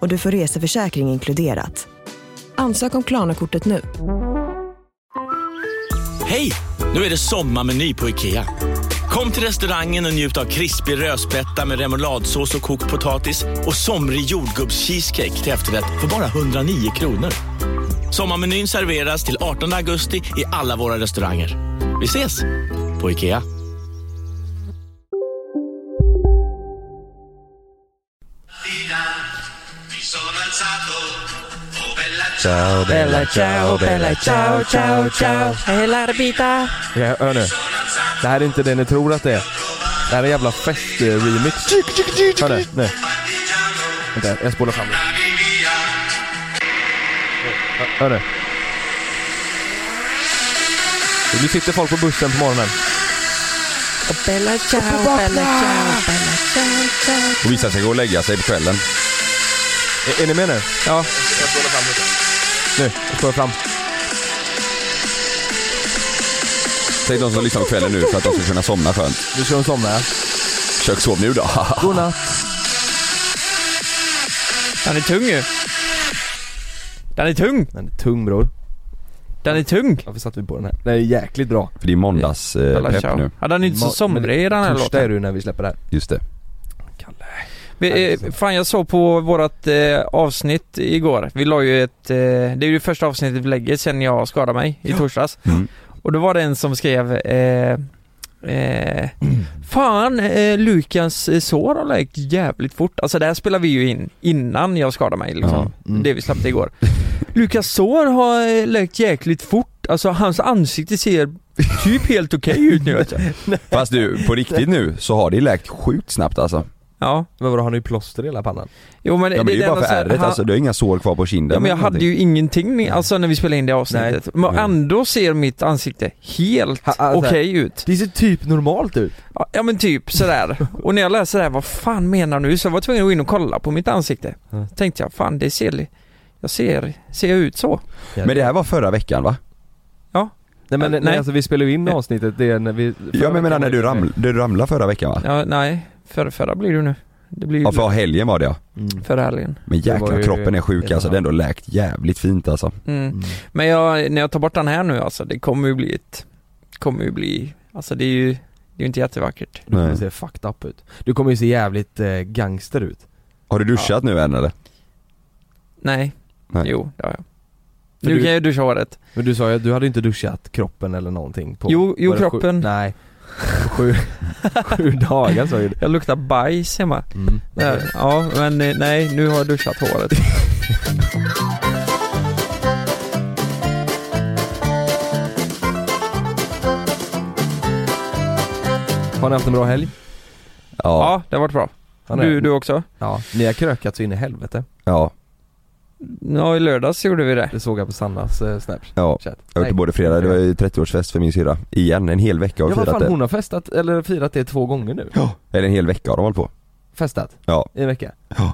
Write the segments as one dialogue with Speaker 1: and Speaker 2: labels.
Speaker 1: och du får reseförsäkring inkluderat. Ansök om Klarna-kortet nu.
Speaker 2: Hej! Nu är det sommarmeny på IKEA. Kom till restaurangen och njut av krispig rödspätta med remouladsås och kokt potatis och somrig jordgubbscheesecake till efterrätt för bara 109 kronor. Sommarmenyn serveras till 18 augusti i alla våra restauranger. Vi ses! På IKEA.
Speaker 3: Ciao bella ciao bella ciao ciao ciao
Speaker 4: Hela Arbita.
Speaker 3: ja, Hör nu, det här är inte det ni tror att det är Det här är en jävla fest-remix Hör nu, nu Vänta, jag spolar fram det Hör- Hör nu Nu sitter folk på bussen på morgonen
Speaker 4: Och Bella ciao, bella ciao, bella ciao, ciao.
Speaker 5: Och vissa ska gå och lägga sig på kvällen.
Speaker 3: Är, är ni med nu? Ja. Nu, jag spolar fram
Speaker 5: Tänk de som lyssnar på kvällen nu för att de ska kunna somna skönt.
Speaker 3: Nu ska de somna ja.
Speaker 5: Försök sov nu då.
Speaker 3: Godnatt.
Speaker 4: Den är tung ju. Den är tung.
Speaker 3: Den är tung bror.
Speaker 4: Den är tung.
Speaker 3: Varför satte vi på den här? Den är jäkligt bra.
Speaker 5: För det är eh,
Speaker 4: Bella
Speaker 5: måndagspepp
Speaker 4: ciao.
Speaker 5: nu.
Speaker 4: Ja, den är inte så
Speaker 3: Ma-
Speaker 4: somrig i den här
Speaker 3: Torsdag är
Speaker 4: låten.
Speaker 3: det ju när vi släpper det här.
Speaker 5: Just det.
Speaker 4: Vi, eh, fan jag såg på vårat eh, avsnitt igår. Vi la ju ett, eh, det är ju det första avsnittet vi lägger sen jag skadade mig i torsdags.
Speaker 5: Mm.
Speaker 4: Och då var det en som skrev eh, eh, Fan, eh, Lukas eh, sår har läkt jävligt fort. Alltså det här spelar vi ju in innan jag skadade mig liksom.
Speaker 3: Ja, mm.
Speaker 4: Det vi släppte igår. Lukas sår har eh, läkt jäkligt fort. Alltså hans ansikte ser typ helt okej ut nu. Alltså.
Speaker 5: Fast du, på riktigt nu så har det läkt sjukt snabbt alltså.
Speaker 4: Ja,
Speaker 3: Men vadå, har ni plåster i hela pannan?
Speaker 4: jo men,
Speaker 5: Ja, men det är ju
Speaker 4: enda
Speaker 5: bara för
Speaker 4: så här,
Speaker 5: ärret
Speaker 4: han-
Speaker 5: alltså. Du har inga sår kvar på kinden.
Speaker 4: Ja, men jag hade ju ingenting alltså när vi spelade in det avsnittet. Men
Speaker 5: Nej.
Speaker 4: ändå ser mitt ansikte helt
Speaker 3: Ha- alltså-
Speaker 4: okej ut.
Speaker 3: Det ser typ normalt ut.
Speaker 4: Ja, Ja men typ sådär. Och när jag läser det här, vad fan menar du? Så jag var tvungen att gå in och kolla på mitt ansikte.
Speaker 3: Ja.
Speaker 4: Tänkte jag, fan det ser, li- jag ser, ser jag ut så?
Speaker 5: Men det här var förra veckan va?
Speaker 3: Nej men
Speaker 4: Nej.
Speaker 3: Nej, alltså vi spelar ju in avsnittet, det är när vi... Mm.
Speaker 5: Ja men menar när du, raml- du ramlade förra veckan va?
Speaker 4: Ja, nej, förra, förra blir du nu. Det blir ju
Speaker 5: Ah. Ja för helgen var det ja.
Speaker 3: Mm.
Speaker 4: förra helgen.
Speaker 5: Men
Speaker 3: Det var
Speaker 5: jäklar
Speaker 3: ju-
Speaker 5: kroppen är sjuk alltså. Det har ändå läkt jävligt fint alltså.
Speaker 4: Mm.
Speaker 3: Mm.
Speaker 4: Men jag, när jag tar bort den här nu alltså, det kommer ju bli ett, kommer ju bli, alltså det är ju, det är ju inte jättevackert.
Speaker 3: Du kommer
Speaker 5: Nej.
Speaker 3: se fucked up ut. Du kommer ju se jävligt eh, gangster ut.
Speaker 5: Har du duschat nu än eller?
Speaker 4: Nej,
Speaker 5: Nej.
Speaker 4: jo det har jag.
Speaker 3: För
Speaker 4: Nu
Speaker 3: du-
Speaker 4: kan jag ju duscha håret.
Speaker 3: Men du sa ju att du hade inte duschat kroppen eller någonting på...
Speaker 4: Jo- jo,
Speaker 3: var det sju-
Speaker 4: kroppen.
Speaker 3: Nej. Sju, sju dagar sa ju du.
Speaker 4: Jag luktar bajs hemma.
Speaker 3: Mm.
Speaker 4: Ja, Ja, men eh, nej, nu har jag duschat håret.
Speaker 3: Har ni haft en bra helg?
Speaker 5: Ja.
Speaker 4: Ja, det har varit bra.
Speaker 3: Han är-
Speaker 4: Du, du också?
Speaker 3: Ja, ni har krökat så in i helvete.
Speaker 5: Ja.
Speaker 4: Ja, i lördags gjorde vi det.
Speaker 3: Det såg jag på Sannas eh, snaps.
Speaker 5: Ja.
Speaker 3: Chat.
Speaker 5: Jag var på både fredag, det var ju 30-årsfest för min syrra. Igen, en hel vecka har
Speaker 3: Ja
Speaker 5: vi
Speaker 3: vad
Speaker 5: firat
Speaker 3: fan
Speaker 5: det.
Speaker 3: hon har festat, eller firat det två gånger nu.
Speaker 5: Eller en hel vecka har de hållit på.
Speaker 3: Festat?
Speaker 5: Ja.
Speaker 3: I en vecka?
Speaker 5: Ja.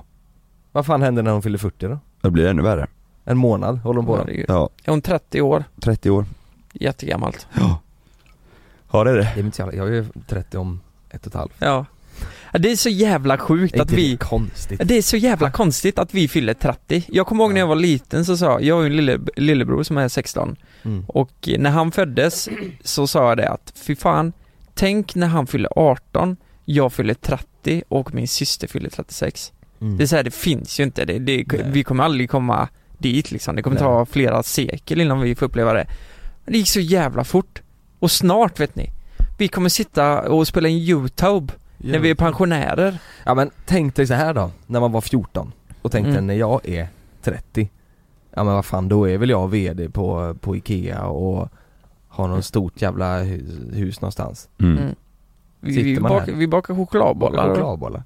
Speaker 3: Vad fan händer när hon fyller 40 då?
Speaker 5: Det blir ännu värre.
Speaker 3: En månad håller hon på då?
Speaker 4: Herregud.
Speaker 5: Ja,
Speaker 4: Är hon 30 år?
Speaker 5: 30 år.
Speaker 4: Jättegammalt.
Speaker 5: Har det är det?
Speaker 3: Det är inte så jävla, jag är 30 om ett och ett halvt.
Speaker 4: Ja. Ja, Det är så jävla sjukt
Speaker 3: Är
Speaker 4: att
Speaker 3: inte det
Speaker 4: vi...
Speaker 3: konstigt?
Speaker 4: Det är så jävla konstigt att vi fyller 30. Jag kommer ihåg när jag var liten så sa, jag har ju en lille, lillebror som är 16
Speaker 3: Mm.
Speaker 4: och eh, när han föddes så sa jag det att fy fan, tänk när han fyller 18, jag fyller 30 och min syster fyller 36.
Speaker 3: Mm.
Speaker 4: Det är så här, det finns ju inte. Det, det,
Speaker 3: Nej.
Speaker 4: vi kommer aldrig komma dit liksom. Det kommer
Speaker 3: Nej.
Speaker 4: ta flera sekel innan vi får uppleva det. Men det gick så jävla fort. Och snart vet ni, vi kommer sitta och spela in YouTube när vi är pensionärer.
Speaker 3: Ja men tänk dig så här då, när man var 14 och tänkte
Speaker 4: Mm.
Speaker 3: när jag är 30 Ja men vad fan då är väl jag VD på, på Ikea och har någon stort jävla hus, hus någonstans
Speaker 5: Mm.
Speaker 4: Mm. Vi,
Speaker 3: Sitter
Speaker 4: vi,
Speaker 3: man
Speaker 4: bak,
Speaker 3: här?
Speaker 4: vi bakar chokladbollar.
Speaker 3: Chokladbollar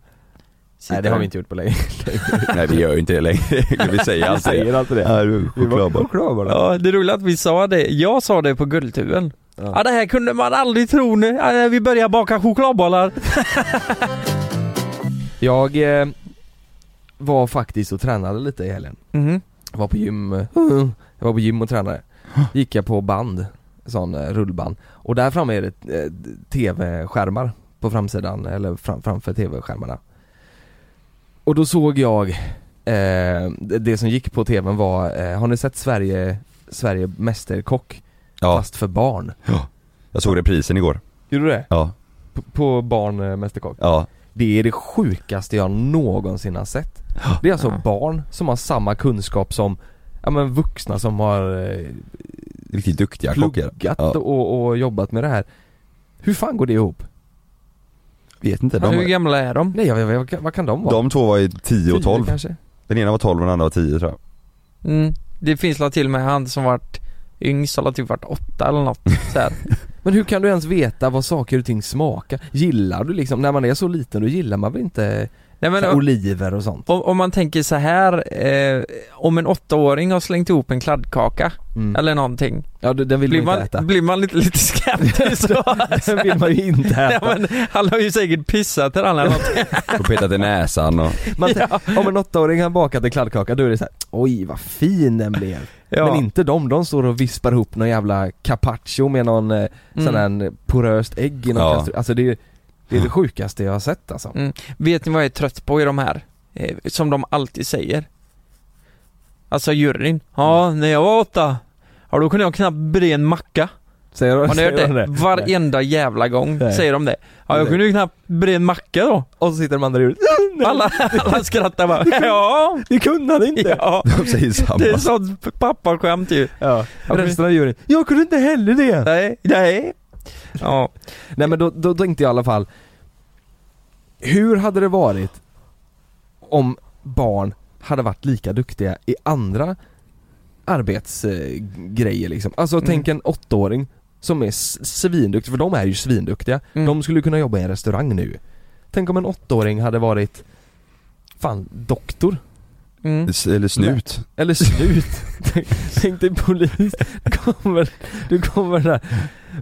Speaker 3: Nej det har vi inte gjort på länge.
Speaker 5: Nej vi gör ju inte det längre, vi säger
Speaker 3: Vi
Speaker 5: alltid
Speaker 3: säger
Speaker 5: det.
Speaker 3: alltid det.
Speaker 5: Ja, du,
Speaker 3: Vi var
Speaker 5: chokladboll.
Speaker 3: chokladbollar.
Speaker 4: Ja, det roliga att vi sa det. Jag sa det på guldtuben.
Speaker 3: Ja.
Speaker 4: Ja. det här kunde man aldrig tro nu. Ja, när vi börjar baka chokladbollar.
Speaker 3: Jag eh, var faktiskt och tränade lite i helgen.
Speaker 4: Mhm.
Speaker 3: Jag var på gym, eh, jag var på gym och tränade. Gick jag på band, sån eh, rullband. Och där framme är det eh, tv-skärmar på framsidan, eller fram, framför tv-skärmarna. Och då såg jag, eh, det det som gick på tvn var, eh, har ni sett Sverige, Sverige Mästerkock?
Speaker 5: Ja,
Speaker 3: Fast för barn.
Speaker 5: jag såg reprisen igår.
Speaker 3: Gjorde du det?
Speaker 5: Ja,
Speaker 3: P- på barn eh, Mästerkock?
Speaker 5: ja.
Speaker 3: Det är det sjukaste jag någonsin har sett. Det är alltså barn som har samma kunskap som Ja men vuxna som har eh,
Speaker 5: Riktigt duktiga kockar.
Speaker 3: pluggat
Speaker 5: Ja.
Speaker 3: och, och jobbat med det här. Hur fan går det ihop?
Speaker 5: Vet inte,
Speaker 4: Hur
Speaker 5: de,
Speaker 4: gamla är de?
Speaker 3: Nej jag vet, vad kan, vad kan de vara?
Speaker 5: de två var ju 10 och 12.
Speaker 3: kanske?
Speaker 5: Den ena var 12 och den andra var 10 tror jag.
Speaker 4: Mm. Det finns la till och med han som varit yngst, har la typ varit åtta eller något. Så här.
Speaker 3: Men hur kan du ens veta vad saker och ting smakar? Gillar du liksom, när man är så liten då gillar man väl inte
Speaker 4: Nej, men,
Speaker 3: så här oliver och sånt?
Speaker 4: om, om man tänker så här eh, om en åttaåring har slängt ihop en kladdkaka
Speaker 3: Mm.
Speaker 4: eller någonting.
Speaker 3: ja den den vill
Speaker 4: Blir
Speaker 3: man inte
Speaker 4: man,
Speaker 3: äta.
Speaker 4: blir man lite, lite skeptisk då?
Speaker 3: den vill man ju inte
Speaker 4: Nej,
Speaker 3: äta.
Speaker 4: men, han har ju säkert pissat i den eller något.
Speaker 5: Och petat i näsan och...
Speaker 3: Man, Om en åttaåring har bakat en kladdkaka då är det så här, oj vad fin den blev.
Speaker 4: Ja.
Speaker 3: Men inte de, de står och vispar ihop någon jävla carpaccio med någon eh, sån
Speaker 4: Mm.
Speaker 3: här poröst ägg i någon
Speaker 5: Ja.
Speaker 3: kastrull. Alltså det är, det är det sjukaste jag har sett alltså.
Speaker 4: Mm. Vet ni vad jag är trött på i de här? Eh, som de alltid säger. Alltså juryn. Ja, när jag var åtta, ja då kunde jag knappt bre en macka.
Speaker 3: Säger de,
Speaker 4: Har ni hört
Speaker 3: säger
Speaker 4: det?
Speaker 3: de
Speaker 4: Varenda jävla gång
Speaker 3: Nej.
Speaker 4: säger de det. Ja, jag
Speaker 3: Nej.
Speaker 4: kunde ju knappt bre en macka då.
Speaker 3: Och så sitter de andra i huvudet,
Speaker 4: Alla, alla skrattar bara. Ja,
Speaker 3: det kunde han inte!
Speaker 4: ja.
Speaker 5: De säger samma.
Speaker 4: Det är sånt pappaskämt ju.
Speaker 3: Ja. Resten av juryn, jag kunde inte heller det!
Speaker 4: Nej, nej. Ja,
Speaker 3: Nej men då, då tänkte jag i alla fall, hur hade det varit om barn hade varit lika duktiga i andra arbetsgrejer liksom? Alltså
Speaker 4: Mm.
Speaker 3: tänk en åttaåring som är s- svinduktig, för de är ju svinduktiga.
Speaker 4: Mm.
Speaker 3: De skulle kunna jobba i en restaurang nu. Tänk om en åttaåring hade varit, fan, doktor?
Speaker 4: mm.
Speaker 5: S- Eller snut.
Speaker 3: Eller slut. Tänk- Tänk dig polis, kommer, du kommer där.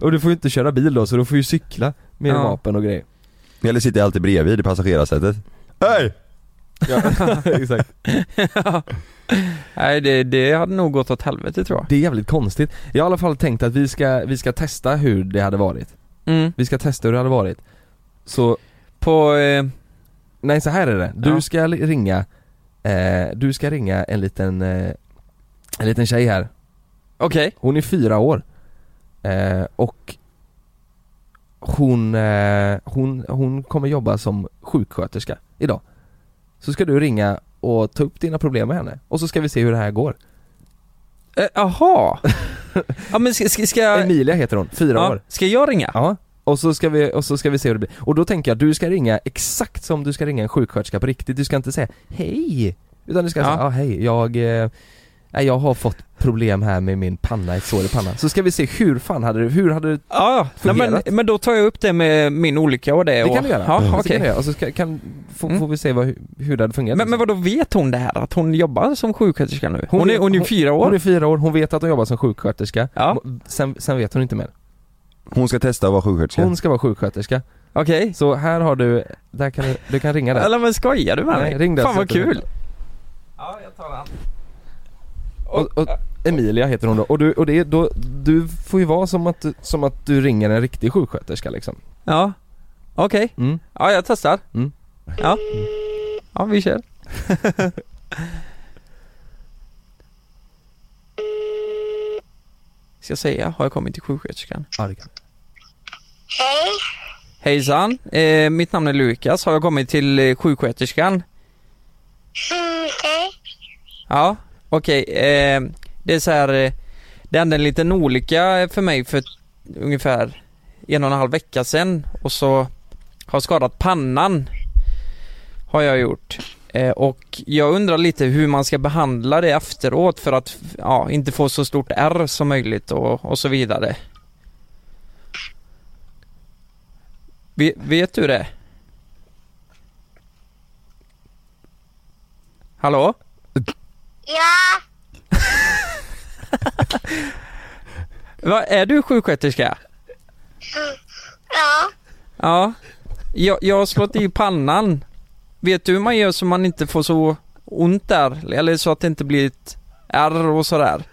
Speaker 3: Och du får ju inte köra bil då så du får ju cykla med
Speaker 4: Ja.
Speaker 3: vapen och grejer.
Speaker 5: Eller sitter alltid bredvid i passagerarsätet. Hej!
Speaker 3: Exakt.
Speaker 4: nej det, det hade nog gått åt helvete tror jag.
Speaker 3: Det är jävligt konstigt. Jag har i alla fall tänkt att vi ska, vi ska testa hur det hade varit.
Speaker 4: Mm.
Speaker 3: Vi ska testa hur det hade varit. Så,
Speaker 4: På, eh,
Speaker 3: nej så här är det. Du
Speaker 4: Ja.
Speaker 3: ska li- ringa, eh, du ska ringa en liten, eh, en liten tjej här.
Speaker 4: okej.
Speaker 3: Hon är fyra år. Eh, och hon, eh, hon, hon kommer jobba som sjuksköterska idag. Så ska du ringa och ta upp dina problem med henne. Och så ska vi se hur det här går.
Speaker 4: Eh, Jaha. ja men ska, ska, ska jag...
Speaker 3: Emilia heter hon, fyra
Speaker 4: Ja,
Speaker 3: år.
Speaker 4: ska jag ringa?
Speaker 3: Ja, och så, ska vi, och så ska vi se hur det blir. Och då tänker jag, du ska ringa exakt som du ska ringa en sjuksköterska på riktigt. Du ska inte säga hej, utan du ska
Speaker 4: Ja.
Speaker 3: säga ja hej, jag, eh, nej, jag har fått problem här med min panna, ett sår i pannan. Så ska vi se hur fan hade du, hur hade du,
Speaker 4: Ja, ja. Nej,
Speaker 3: Fungerat?
Speaker 4: men, men då tar jag upp det med min olycka och det.
Speaker 3: det
Speaker 4: och,
Speaker 3: kan du göra.
Speaker 4: Ja,
Speaker 3: Så
Speaker 4: okej.
Speaker 3: kan du göra. Och så ska, kan, får,
Speaker 4: Mm.
Speaker 3: får vi se vad, hur det hade fungerat.
Speaker 4: Men, men vadå, vet hon det här? Att hon jobbar som sjuksköterska nu?
Speaker 3: Hon
Speaker 4: Hon, är,
Speaker 3: vet-
Speaker 4: hon är ju fyra år.
Speaker 3: hon är fyra år, hon vet att hon jobbar som sjuksköterska.
Speaker 4: Ja.
Speaker 3: Sen, sen vet hon inte mer.
Speaker 5: Hon ska testa att vara sjuksköterska.
Speaker 3: Hon ska vara sjuksköterska.
Speaker 4: Okej.
Speaker 3: Så här har du, där kan du, du kan ringa där.
Speaker 4: Eller men skojar du med
Speaker 3: Nej,
Speaker 4: mig?
Speaker 3: ring där
Speaker 4: Fan
Speaker 3: så
Speaker 4: vad
Speaker 3: att du-
Speaker 4: kul. Ja, jag tar den.
Speaker 3: Och, och Emilia heter hon då, och, du, och det är då, du får ju vara som att, du- som att du ringer en riktig sjuksköterska liksom
Speaker 4: Ja. Okej.
Speaker 3: mm.
Speaker 4: Ja, jag testar.
Speaker 3: Mm.
Speaker 4: Ja. Ja, vi kör. Ska jag säga, har jag kommit till sjuksköterskan?
Speaker 3: ja, det kan.
Speaker 6: Hej,
Speaker 4: Hejsan, eh, mitt namn är Lukas. Har jag kommit till eh, sjuksköterskan?
Speaker 6: mm, hej,
Speaker 4: Ja, okej. Eh, det är så här, eh, det hände en liten olycka för mig för ungefär en och en halv vecka sedan och så har jag skadat pannan. Har jag gjort. Eh, och jag undrar lite hur man ska behandla det efteråt för att ja, inte få så stort R som möjligt och, och så vidare. Ve- vet du det? Hallå?
Speaker 6: Ja,
Speaker 4: Va, är du sjuksköterska?
Speaker 6: ja,
Speaker 4: Ja. Jag, jag har slått i pannan. Vet du hur man gör så man inte får så ont där? Eller så att det inte blir ett ärr och sådär?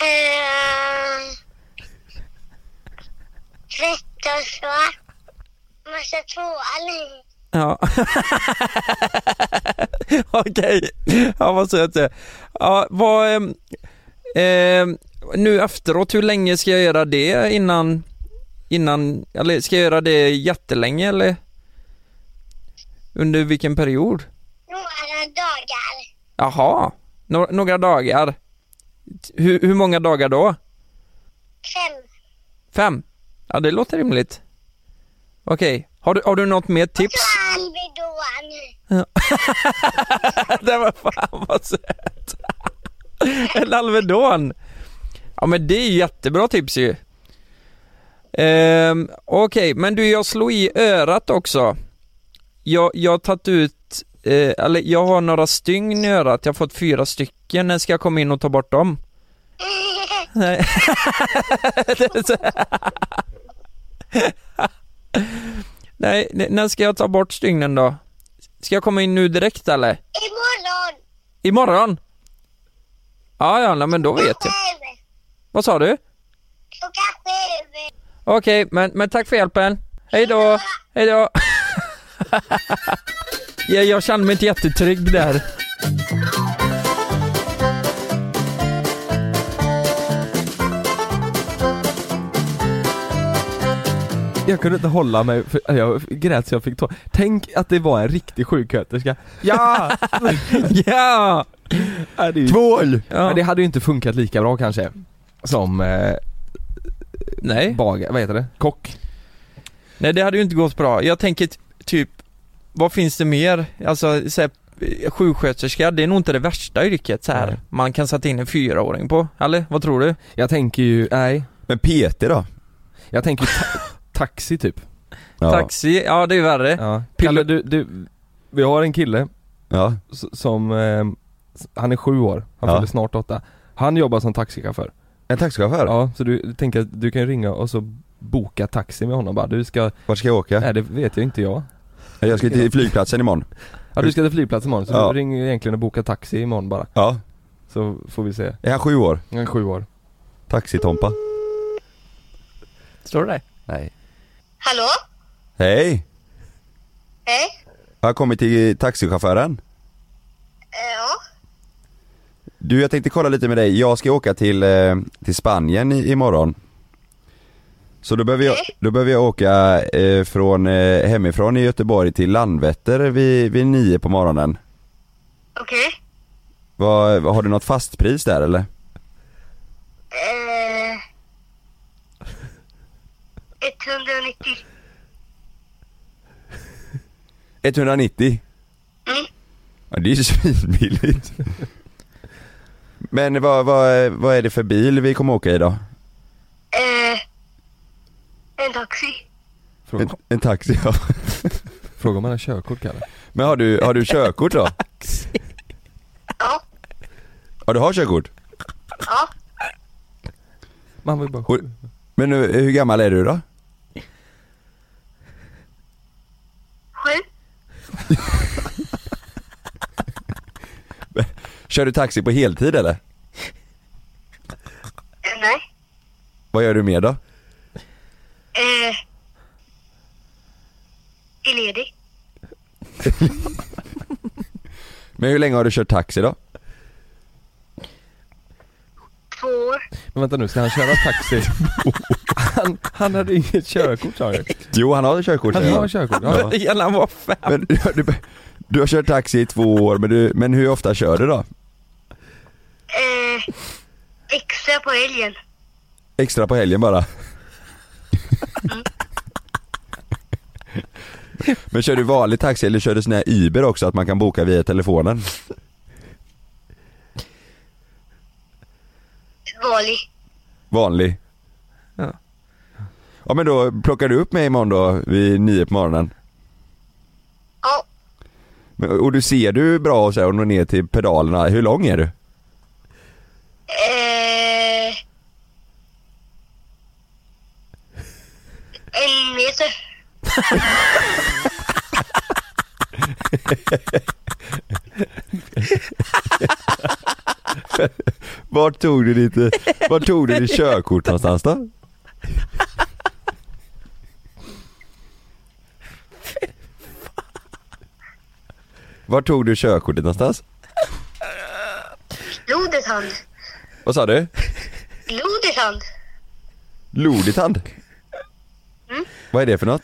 Speaker 6: ehm... Tvätt och så. Massa tvål i.
Speaker 4: Ja. Okej. Ja, vad söt du är. Ja, vad... ehm, ehm, nu efteråt, hur länge ska jag göra det innan... Innan... Eller ska jag göra det jättelänge eller? Under vilken period?
Speaker 6: Några dagar.
Speaker 4: Jaha. Nå- några dagar. Hur, hur många dagar då?
Speaker 6: Fem.
Speaker 4: Fem? Ja, det låter rimligt. Okej. Har, du, har du något mer tips?
Speaker 6: Ta Alvedon.
Speaker 4: Det var fan vad söt! En Alvedon! Ja men det är ju jättebra tips ju. Ehm, Okej, men du jag slog i örat också. Jag, jag har tagit ut, eh, eller jag har några stygn i örat, jag har fått fyra stycken. När ska jag komma in och ta bort dem? Nej. Det är så- Nej, n- när ska jag ta bort stygnen då? Ska jag komma in nu direkt eller?
Speaker 6: Imorgon.
Speaker 4: Imorgon? Ja, ja, nej, men då vet jag.
Speaker 6: Sju.
Speaker 4: Vad sa du?
Speaker 6: Klockan sju.
Speaker 4: Okej, men, men tack för hjälpen. Hej då! Hej då! ja, jag kände mig inte jättetrygg där.
Speaker 3: Jag kunde inte hålla mig, för jag grät så jag fick tår. Tänk att det var en riktig sjuksköterska. Ja!
Speaker 4: Ja!
Speaker 3: Ja, det är ju-
Speaker 5: Tvål!
Speaker 3: Men
Speaker 4: ja.
Speaker 3: det hade ju inte funkat lika bra kanske. Som, eh,
Speaker 4: Nej.
Speaker 3: bagare, vad heter det? Kock?
Speaker 4: nej, det hade ju inte gått bra. Jag tänker t- typ, vad finns det mer? Alltså, så här, eh, sjuksköterska, det är nog inte det värsta yrket så här.
Speaker 3: Nej.
Speaker 4: man kan sätta in en fyraåring på. Eller vad tror du?
Speaker 3: Jag tänker ju, nej.
Speaker 5: Men PT då?
Speaker 3: Jag tänker ju ta- taxi typ.
Speaker 5: Ja.
Speaker 4: Taxi, ja det är ju värre.
Speaker 3: Ja.
Speaker 4: Pilot-
Speaker 3: Kalle, du, du, vi har en kille
Speaker 5: Ja.
Speaker 3: s- som, eh, s- han är sju år, han
Speaker 5: Ja.
Speaker 3: fyller snart åtta. Han jobbar som taxichaufför.
Speaker 5: En taxichaufför?
Speaker 3: Ja, så du tänker att du kan ringa och så boka taxi med honom bara. Du ska,
Speaker 5: Vart ska jag åka?
Speaker 3: nej det vet jag inte jag.
Speaker 5: Jag ska till flygplatsen imorgon.
Speaker 3: Ja du ska till flygplatsen imorgon så
Speaker 5: Ja.
Speaker 3: du ringer egentligen och bokar taxi imorgon bara.
Speaker 5: Ja.
Speaker 3: Så får vi se.
Speaker 5: Är han sju år?
Speaker 3: Han är sju år.
Speaker 5: Taxitompa?
Speaker 4: Står det där?
Speaker 5: Nej.
Speaker 6: Hallå?
Speaker 5: Hej!
Speaker 6: Hej.
Speaker 5: Jag har kommit till taxichauffören.
Speaker 6: Eh, Ja.
Speaker 5: Du, jag tänkte kolla lite med dig. Jag ska åka till, eh, till Spanien i, imorgon. Så då behöver jag, då behöver jag åka eh, från, eh, hemifrån i Göteborg till Landvetter vid, vid nio på morgonen.
Speaker 6: Okej.
Speaker 5: Vad, vad- har du något fastpris där eller?
Speaker 6: Eh, 190.
Speaker 5: 190?
Speaker 6: Mm.
Speaker 5: Ja, det är ju svinbilligt. Men vad, vad, vad är det för bil vi kommer åka i då?
Speaker 6: Eh, en taxi.
Speaker 3: Fråga,
Speaker 5: En, en taxi ja.
Speaker 3: fråga om han har körkort Kalle.
Speaker 5: Men har du, har du körkort då?
Speaker 6: Ja.
Speaker 5: Ja du har körkort?
Speaker 6: Ja.
Speaker 3: Man var ju bara
Speaker 5: Hur- Men nu, hur gammal är du då?
Speaker 6: Sju.
Speaker 5: Kör du taxi på heltid eller?
Speaker 6: Eh, nej.
Speaker 5: Vad gör du mer då?
Speaker 6: Eh, är ledig.
Speaker 5: Men hur länge har du kört taxi då?
Speaker 6: Två år.
Speaker 3: Men vänta nu, ska han köra taxi? Han, han hade inget körkort sa han ju.
Speaker 5: Jo han har körkort
Speaker 3: Han
Speaker 5: säger
Speaker 3: har
Speaker 5: han.
Speaker 3: körkort, ja.
Speaker 4: Ja. Gäller han var fem?
Speaker 5: Men du, du, du har kört taxi i två år men, du, men hur ofta kör du då?
Speaker 6: Eh, extra på helgen.
Speaker 5: Extra på helgen bara? Men kör du vanlig taxi eller kör du sån här Uber också att man kan boka via telefonen?
Speaker 6: Vanlig.
Speaker 5: Vanlig?
Speaker 4: Ja.
Speaker 5: Ja men då plockar du upp mig imorgon då vid nio på morgonen?
Speaker 6: Ja.
Speaker 5: Men- Och du ser du bra och så här, och når ner till pedalerna, hur lång är du?
Speaker 6: Eh, en meter.
Speaker 5: Vart tog du ditt, eh, vart tog du ditt körkort någonstans då? Vart tog du körkortet någonstans?
Speaker 6: Lodishand.
Speaker 5: Vad sa du?
Speaker 6: Lodishand.
Speaker 5: Loditand? Vad är det för något?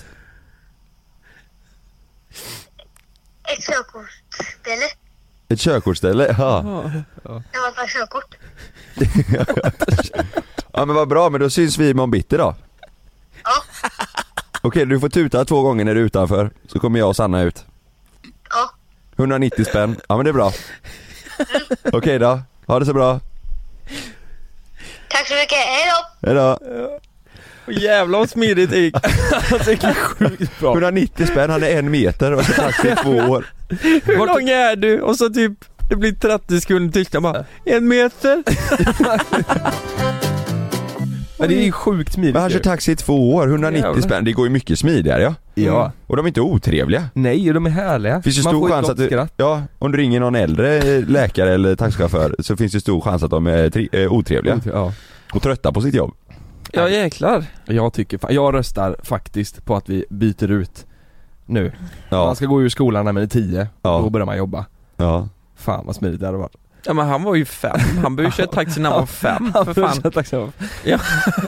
Speaker 6: Ett körkortsställe.
Speaker 5: Ett körkortsställe? Ja.
Speaker 6: När man tar körkort.
Speaker 5: ja men vad bra, men då syns vi imorgon bitti då.
Speaker 6: Ja,
Speaker 5: Okej, du får tuta två gånger när du är utanför, så kommer jag och Sanna ut.
Speaker 6: ja.
Speaker 5: 190 spänn, ja men det är bra. Okej då, ha det så bra.
Speaker 6: Tack så mycket. Hej då!
Speaker 5: Hejdå.
Speaker 4: Och jävlar vad smidigt det gick. Alltså, det gick sjukt bra.
Speaker 5: 190 spänn, han är en meter och så tack i två år.
Speaker 4: Hur lång är du? Och så typ, det blir 30 sekunder tyst. Jag bara, en meter?
Speaker 3: Men det är ju sjukt smidigt
Speaker 5: Men han kör
Speaker 3: ju.
Speaker 5: taxi i två år, 190
Speaker 3: Jävlar.
Speaker 5: spänn, det går ju mycket smidigare ja.
Speaker 3: Ja.
Speaker 5: Och de är inte otrevliga.
Speaker 3: Nej, de är härliga.
Speaker 5: Finns det
Speaker 3: Man
Speaker 5: stor
Speaker 3: får ju
Speaker 5: chans
Speaker 3: gott
Speaker 5: att du,
Speaker 3: skratt.
Speaker 5: ja, om du ringer någon äldre eh, läkare eller taxichaufför så finns det stor chans att de är tri- eh, otrevliga
Speaker 3: Ja.
Speaker 5: och trötta på sitt jobb.
Speaker 4: Ja jäklar.
Speaker 3: Jag tycker, fa- jag röstar faktiskt på att vi byter ut nu.
Speaker 5: Ja,
Speaker 3: Man ska gå ur skolan när man är 10,
Speaker 5: Ja.
Speaker 3: då börjar man jobba.
Speaker 5: ja.
Speaker 3: Fan vad smidigt det hade varit.
Speaker 4: Ja men han var ju fem. Han började köra taxi när han var fem för fan.
Speaker 3: Tack så mycket.
Speaker 4: Ja.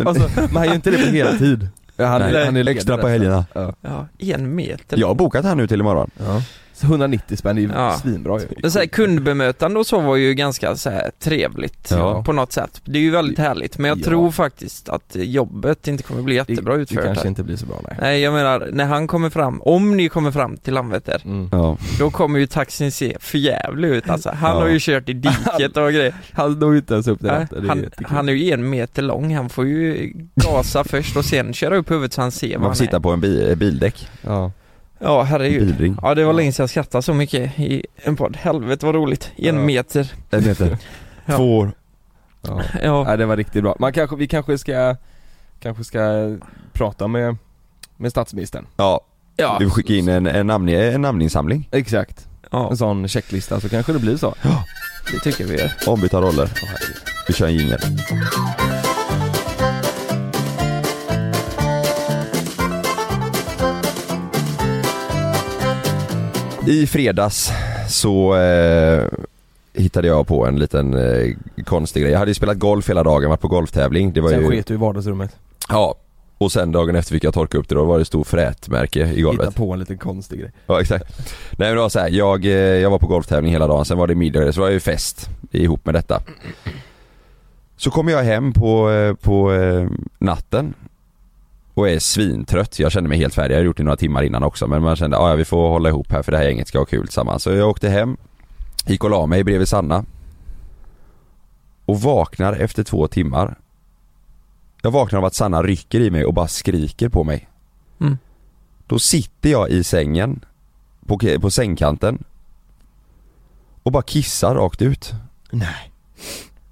Speaker 3: alltså, men han gör inte det på heltid. Ja, Han,
Speaker 5: Nej,
Speaker 3: han är ledig
Speaker 5: extra på
Speaker 3: resten.
Speaker 5: helgerna.
Speaker 3: Ja.
Speaker 4: Ja, en meter.
Speaker 5: Jag har bokat här nu till imorgon.
Speaker 3: Ja. Så 190 spänn är ju
Speaker 4: Ja.
Speaker 3: svinbra ju.
Speaker 4: Men så här, kundbemötande och så var ju ganska så här, trevligt
Speaker 3: Ja.
Speaker 4: på något sätt. Det är ju väldigt härligt men jag
Speaker 3: Ja.
Speaker 4: tror faktiskt att jobbet inte kommer bli jättebra
Speaker 3: det, det
Speaker 4: utfört
Speaker 3: kanske
Speaker 4: här.
Speaker 3: inte blir så bra nej.
Speaker 4: Nej jag menar, när han kommer fram, om ni kommer fram till Landvetter,
Speaker 3: Mm.
Speaker 5: Ja.
Speaker 4: då kommer ju taxin se förjävlig ut alltså. Han
Speaker 5: Ja.
Speaker 4: har ju kört i diket och grejer.
Speaker 3: Han når ju inte ens upp det, rätta, det är
Speaker 4: han,
Speaker 3: jättekul.
Speaker 4: han är ju en meter lång, han får ju gasa först och sen köra upp huvudet så han ser vad
Speaker 5: Man
Speaker 4: han
Speaker 5: får sitta
Speaker 4: är.
Speaker 5: på en bi- eh, bildäck,
Speaker 3: ja.
Speaker 4: Ja herregud.
Speaker 5: bilring.
Speaker 4: Ja det var länge sedan jag skrattade så mycket i en podd. Helvete vad roligt. En
Speaker 3: Ja.
Speaker 4: meter.
Speaker 5: En meter.
Speaker 4: Ja.
Speaker 5: Två år.
Speaker 3: Ja.
Speaker 4: Ja.
Speaker 3: Nej det var riktigt bra. Man kanske, vi kanske ska, kanske ska prata med, med statsministern.
Speaker 5: Ja,
Speaker 4: Ja.
Speaker 5: vi skickar in en, en, namn, en namninsamling.
Speaker 3: Exakt.
Speaker 4: ja.
Speaker 3: En sån checklista så kanske det blir så.
Speaker 4: Det tycker vi gör.
Speaker 5: Ombytta roller. Vi kör en jingel. I fredags så eh, hittade jag på en liten eh, konstig grej. Jag hade ju spelat golf hela dagen, varit på golftävling. Det var
Speaker 3: Sen
Speaker 5: ju...
Speaker 3: sket du i vardagsrummet.
Speaker 5: Ja. Och sen dagen efter fick jag torka upp det, då var det stor frätmärke i golvet.
Speaker 3: Hitta på en liten konstig grej.
Speaker 5: Ja exakt. Nej men det var så här, jag, eh, jag var på golftävling hela dagen, sen var det middag, så var det ju fest ihop med detta. Så kommer jag hem på, eh, på eh, natten och är svintrött. Jag kände mig helt färdig, jag hade gjort det några timmar innan också men man kände att vi får hålla ihop här för det här gänget ska ha kul tillsammans. Så jag åkte hem, gick och la mig bredvid Sanna. Och vaknar efter två timmar. Jag vaknar av att Sanna rycker i mig och bara skriker på mig.
Speaker 4: Mm.
Speaker 5: Då sitter jag i sängen på, på sängkanten och bara kissar rakt ut.
Speaker 3: Nej.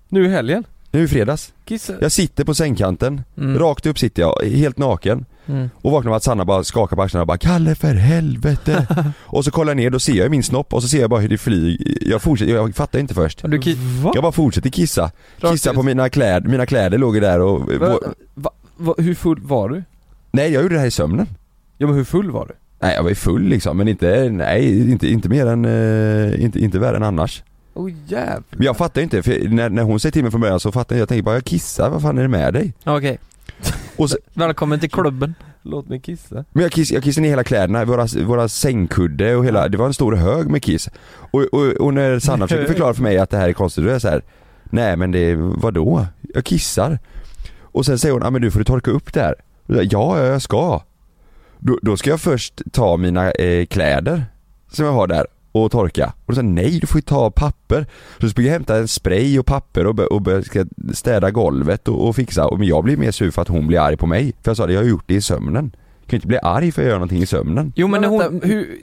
Speaker 3: Nu i helgen.
Speaker 5: Nu i fredags.
Speaker 3: Kissa.
Speaker 5: Jag sitter på sängkanten,
Speaker 4: Mm.
Speaker 5: rakt upp sitter jag, helt naken
Speaker 4: Mm.
Speaker 5: och vaknar med att Sanna bara skakar på axlarna och bara 'Kalle för helvete' och så kollar jag ner, då ser jag min snopp och så ser jag bara hur det flyger, jag fortsätter, jag fattar inte först.
Speaker 4: Och Du kan... Va?
Speaker 5: Jag bara fortsätter kissa,
Speaker 4: Rakt
Speaker 5: kissa
Speaker 4: ut.
Speaker 5: på mina kläder, mina kläder låg ju där och...
Speaker 3: Va, va, va, hur full var du?
Speaker 5: Nej jag gjorde det här i sömnen.
Speaker 3: Ja men hur full var du?
Speaker 5: Nej jag var ju full liksom men inte, nej inte, inte mer än, eh, inte, inte värre än annars.
Speaker 3: Åh oh, jävlar.
Speaker 5: Men jag fattar ju inte, för när, när hon säger till mig från början så fattar jag, jag tänker bara jag kissar, vad fan är det med dig?
Speaker 4: Okej.
Speaker 5: Och så-
Speaker 4: Välkommen till klubben.
Speaker 3: Låt mig kissa.
Speaker 5: Men jag, kiss, jag kissade ner hela kläderna, våra, våra sängkudde och hela, det var en stor hög med kiss. Och, och, och när Sanna försöker förklara för mig att det här är konstigt, då är jag så här. nej men det, vadå? Jag kissar. Och sen säger hon, ja men du får du torka upp det här. Och jag, ja, ja, jag ska. Då, då ska jag först ta mina eh, kläder som jag har där och torka. Och då sa jag, nej du får ju ta papper. Så sprang jag och hämtade en spray och papper och, bör, och bör, ska städa golvet och, och fixa. Och, men jag blir mer sur för att hon blir arg på mig. För jag sa det, jag har gjort det i sömnen. Jag kan ju inte bli arg för att jag gör någonting i sömnen.
Speaker 4: Jo men,
Speaker 3: Men
Speaker 4: hon...
Speaker 3: vänta, hur,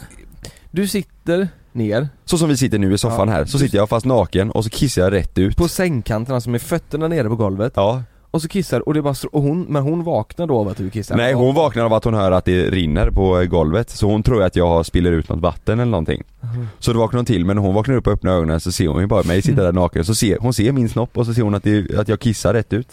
Speaker 3: du sitter ner
Speaker 5: Så som vi sitter nu i soffan
Speaker 3: Ja.
Speaker 5: här, så sitter jag fast naken och så kissar jag rätt ut
Speaker 3: På sängkanten, alltså med fötterna nere på golvet
Speaker 5: Ja,
Speaker 3: Och så kissar, och det bara str- och hon, men hon vaknar då av att du kissar
Speaker 5: nej hon vaknar av att hon hör att det rinner på eh, golvet så hon tror ju att jag har- spiller ut något vatten eller någonting Så då vaknar hon till men när hon vaknar upp och öppnar ögonen så ser hon ju bara mig sitta där naken så ser, hon ser min snopp och så ser hon att, det, att jag kissar rätt ut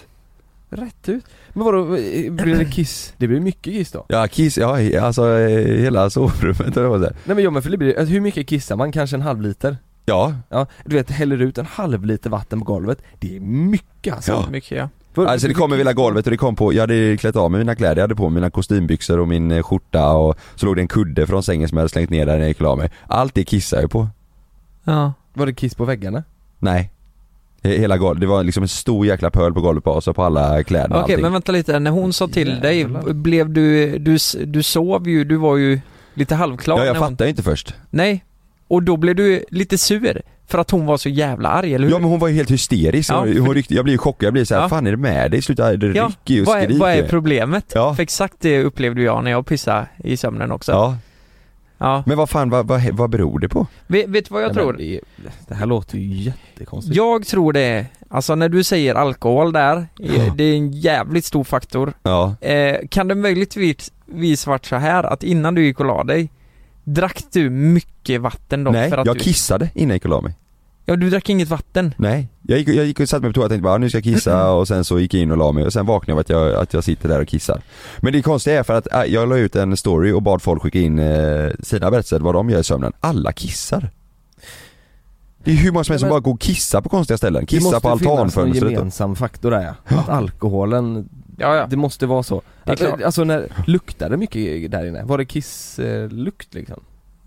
Speaker 3: Rätt ut Men vadå, eh, blir det kiss? Det blir mycket kiss då?
Speaker 5: Ja kiss, ja he- alltså eh, hela sovrummet eller vad det var.
Speaker 3: Nej men jag men för det blir, alltså, hur mycket kissar man? Kanske en halv liter?
Speaker 5: Ja,
Speaker 3: Ja, du vet häller ut en halv liter vatten på golvet Det är mycket alltså
Speaker 5: Ja.
Speaker 4: Mycket ja.
Speaker 3: Vad-
Speaker 5: alltså det kom över hela golvet och det kom på, jag hade klätt av mig mina kläder, jag hade på mig mina kostymbyxor och min eh, skjorta och så låg det en kudde från sängen som jag hade slängt ner där när jag gick och la mig Allt det kissade jag på
Speaker 4: Ja.
Speaker 3: Var det kiss på väggarna?
Speaker 5: Nej He- Hela golvet, det var liksom en stor jäkla pöl på golvet bara, så på alla kläderna och
Speaker 4: Okej
Speaker 5: allting.
Speaker 4: men vänta lite, när hon sa till dig,
Speaker 3: Jävlar.
Speaker 4: blev du, du, s- du sov ju, du var ju lite halvklar
Speaker 5: Ja jag
Speaker 4: när hon,
Speaker 5: fattade ju inte först
Speaker 4: Nej, och då blev du lite sur för att hon var så jävla arg, eller hur?
Speaker 5: Ja men hon var ju helt hysterisk,
Speaker 4: Ja.
Speaker 5: hon, hon ryckte, jag blev ju chockad, jag blev såhär
Speaker 4: Ja.
Speaker 5: 'Fan är det med dig?' Sluta, det
Speaker 4: Ja,
Speaker 5: rycker ju och
Speaker 4: vad, är,
Speaker 5: skriker
Speaker 4: vad är problemet?
Speaker 5: Ja.
Speaker 4: För exakt det upplevde jag när jag pissade i sömnen också.
Speaker 5: Ja,
Speaker 4: Ja.
Speaker 5: men vad fan, vad, vad, vad beror det på?
Speaker 4: Vet, vet du vad jag
Speaker 3: Nej,
Speaker 4: tror?
Speaker 3: men det, det här låter ju jättekonstigt
Speaker 4: Jag tror det, är- alltså när du säger alkohol där, eh,
Speaker 5: Ja.
Speaker 4: det är en jävligt stor faktor.
Speaker 5: Ja,
Speaker 4: Eh, kan det möjligtvis vis varit så här att innan du gick och la dig, drack du mycket vatten då?
Speaker 5: nej,
Speaker 4: för att
Speaker 5: jag
Speaker 4: du...
Speaker 5: kissade innan jag gick och la mig
Speaker 4: Ja, du drack inget vatten.
Speaker 5: Nej, jag gick, jag gick och satte mig på toa och tänkte bara nu ska jag
Speaker 3: Mm.
Speaker 5: kissa och sen så gick jag in och la mig och sen vaknade jag av att jag, att jag sitter där och kissar Men det konstiga är för att äh, jag la ut en story och bad folk skicka in eh, sina berättelser vad de gör i sömnen, alla kissar Det är hur många som helst som
Speaker 3: Men-
Speaker 5: bara går och kissar på konstiga ställen,
Speaker 3: Det
Speaker 5: kissar
Speaker 3: måste
Speaker 5: på
Speaker 3: finnas
Speaker 5: altanfönstret
Speaker 3: en
Speaker 5: och-
Speaker 3: gemensam faktor där ja. Att alkoholen,
Speaker 4: Ja, ja.
Speaker 3: det måste vara så.
Speaker 4: Det är klart.
Speaker 3: Alltså när, luktade det mycket där inne? Var det kisslukt liksom?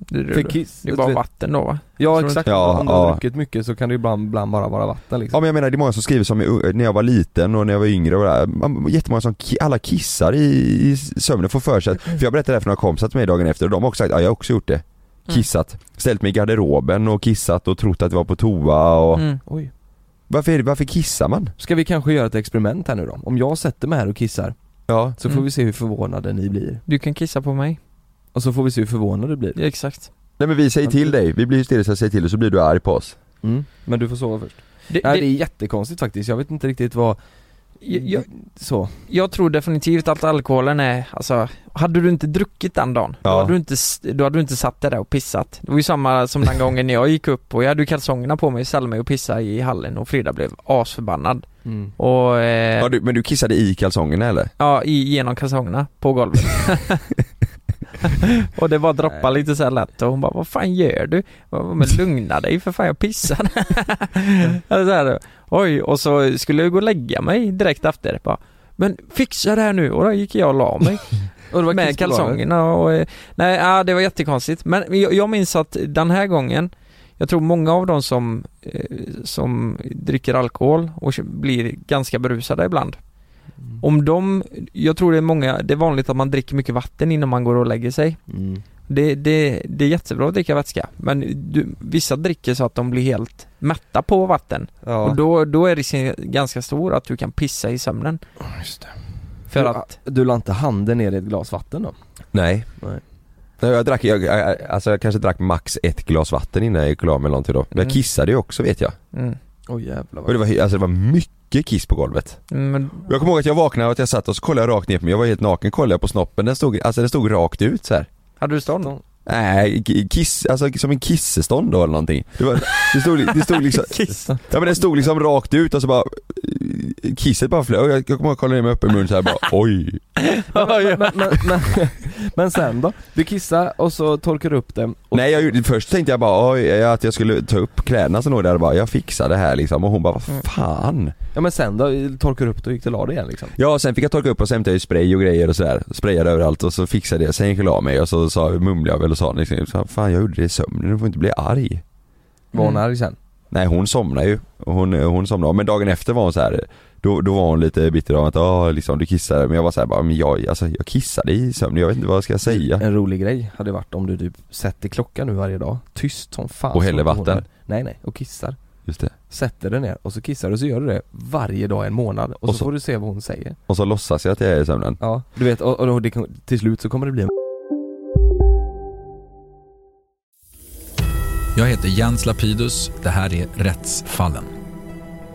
Speaker 4: Det, det,
Speaker 3: För kiss,
Speaker 4: det är bara vatten då va? Tror
Speaker 3: Ja
Speaker 4: du
Speaker 3: exakt,
Speaker 5: inte? Ja,
Speaker 3: om du har
Speaker 5: ja.
Speaker 3: druckit mycket så kan det ibland, ibland bara vara vatten liksom.
Speaker 5: Ja men jag menar det är många som skriver som i- när jag var liten och när jag var yngre och det där. Man- jättemånga som, ki- alla kissar i, i sömnen, får för sig att,
Speaker 4: Mm.
Speaker 5: för jag berättade det här för några kompisar till mig dagen efter och de har också sagt ja jag har också gjort det
Speaker 4: Mm.
Speaker 5: Kissat, ställt mig i garderoben och kissat och trott att det var på toa och
Speaker 4: Mm.
Speaker 3: Oj.
Speaker 5: varför, är det, varför kissar man?
Speaker 3: Ska vi kanske göra ett experiment här nu då? Om jag sätter mig här och kissar
Speaker 5: Ja,
Speaker 3: så får
Speaker 4: Mm.
Speaker 3: vi se hur förvånade ni blir.
Speaker 4: Du kan kissa på mig.
Speaker 3: Och så får vi se hur förvånade du blir.
Speaker 4: Ja, exakt.
Speaker 5: nej men vi säger till dig, vi blir hysteriska, säger till dig så blir du arg på oss
Speaker 3: Mm. Men du får sova först.
Speaker 4: Det,
Speaker 3: Nej det
Speaker 4: det,
Speaker 3: är jättekonstigt faktiskt, jag vet inte riktigt vad,
Speaker 4: jag,
Speaker 3: så.
Speaker 4: jag tror definitivt att alkoholen är, alltså, hade du inte druckit den dagen, då,
Speaker 5: Ja.
Speaker 4: hade du inte, s- då hade du inte satt dig där och pissat. Det var ju samma som den gången när jag gick upp och jag hade ju kalsongerna på mig, ställde mig och pissade i hallen och Frida blev asförbannad.
Speaker 3: Mm.
Speaker 4: Och, eh,
Speaker 5: ja, du, Men du kissade i kalsongerna eller?
Speaker 4: Ja, i, genom kalsongerna på golvet. och det bara droppade lite så här lätt och hon bara Vad fan gör du? Jag bara, Men lugna dig för fan jag pissar. Eller så här, Oj, och så skulle jag gå och lägga mig direkt efter. Bara, men fixa det här nu och då gick jag och la mig
Speaker 3: Och det var
Speaker 4: med
Speaker 3: kiss på lagen.
Speaker 4: kalsongerna och eh, Nej, ja, det var jättekonstigt. Men jag, jag minns att den här gången jag tror många av de som, eh, som dricker alkohol och blir ganska berusade ibland
Speaker 3: Mm.
Speaker 4: om de, jag tror det är många, det är vanligt att man dricker mycket vatten innan man går och lägger sig.
Speaker 3: Mm.
Speaker 4: Det, det, det är jättebra att dricka vätska, men du, vissa dricker så att de blir helt mätta på vatten.
Speaker 3: Ja.
Speaker 4: Och då, då är risken ganska stor att du kan pissa i sömnen.
Speaker 3: Just det.
Speaker 4: För
Speaker 3: du,
Speaker 4: att,
Speaker 3: Du la inte handen ner i ett glas vatten då?
Speaker 5: Nej
Speaker 3: Nej.
Speaker 5: Nej, jag drack, jag, jag, alltså jag kanske drack max ett glas vatten innan jag gick och la mig eller någonting då. Men
Speaker 4: Mm.
Speaker 5: jag kissade ju också vet jag
Speaker 4: mm,
Speaker 3: Oj jävlar
Speaker 5: Och det var, alltså det var mycket kiss på golvet.
Speaker 4: men,
Speaker 5: Och Jag kommer ihåg att jag vaknade och att jag satt och så kollade jag rakt ner på mig, jag var helt naken, kollade jag på snoppen, den stod, alltså den stod rakt ut så här.
Speaker 4: hade du stånd?
Speaker 5: Nej, k- kiss, alltså som en kissestånd då eller någonting. Det, var, det, stod, det stod liksom,
Speaker 4: Kissa.
Speaker 5: ja men den stod liksom rakt ut och så bara, eh, kisset bara flög. Jag kommer ihåg att kolla ner mig upp i munnen såhär bara oj.
Speaker 3: Men, men, men, men, men, men sen då? Du kissar och så torkar du upp den och
Speaker 5: Nej jag, gjorde- först tänkte jag bara oj, att jag skulle ta upp kläderna som låg där och bara jag fixar det här liksom och hon bara vad fan.
Speaker 3: Ja men sen då? Torkar du upp det och gick till och la dig igen liksom?
Speaker 5: Ja, sen fick jag torka upp och så hämtade jag ju spray och grejer och sådär. Sprayade överallt och så fixade jag, sen gick jag och la mig och så sa, mumlade jag väl och sa liksom, så, fan jag gjorde det i sömnen, du får inte bli arg.
Speaker 3: Var hon
Speaker 4: Mm.
Speaker 3: arg sen?
Speaker 5: Nej hon somnade ju, hon, hon somnade, men dagen efter var hon så här. Då, då var hon lite bitter av att ah, liksom, du kissade, men jag var såhär bara, men jag, alltså, jag kissade i sömnen, jag vet inte vad jag ska säga.
Speaker 3: En rolig grej hade varit om du typ sätter klockan nu varje dag, tyst som fan
Speaker 5: Och häller
Speaker 3: Så inte hon
Speaker 5: vatten.
Speaker 3: hör. Nej nej, och kissar
Speaker 5: Just det.
Speaker 3: Sätter den ner och så kissar du och så gör du det varje dag i en månad och,
Speaker 5: Och
Speaker 3: så,
Speaker 5: så-
Speaker 3: får du se vad hon säger
Speaker 5: Och så låtsas jag att jag är i sömnen.
Speaker 3: Ja, du vet och, och då, det, kan- till slut så kommer det bli en
Speaker 7: Jag heter Jens Lapidus. Det här är Rättsfallen.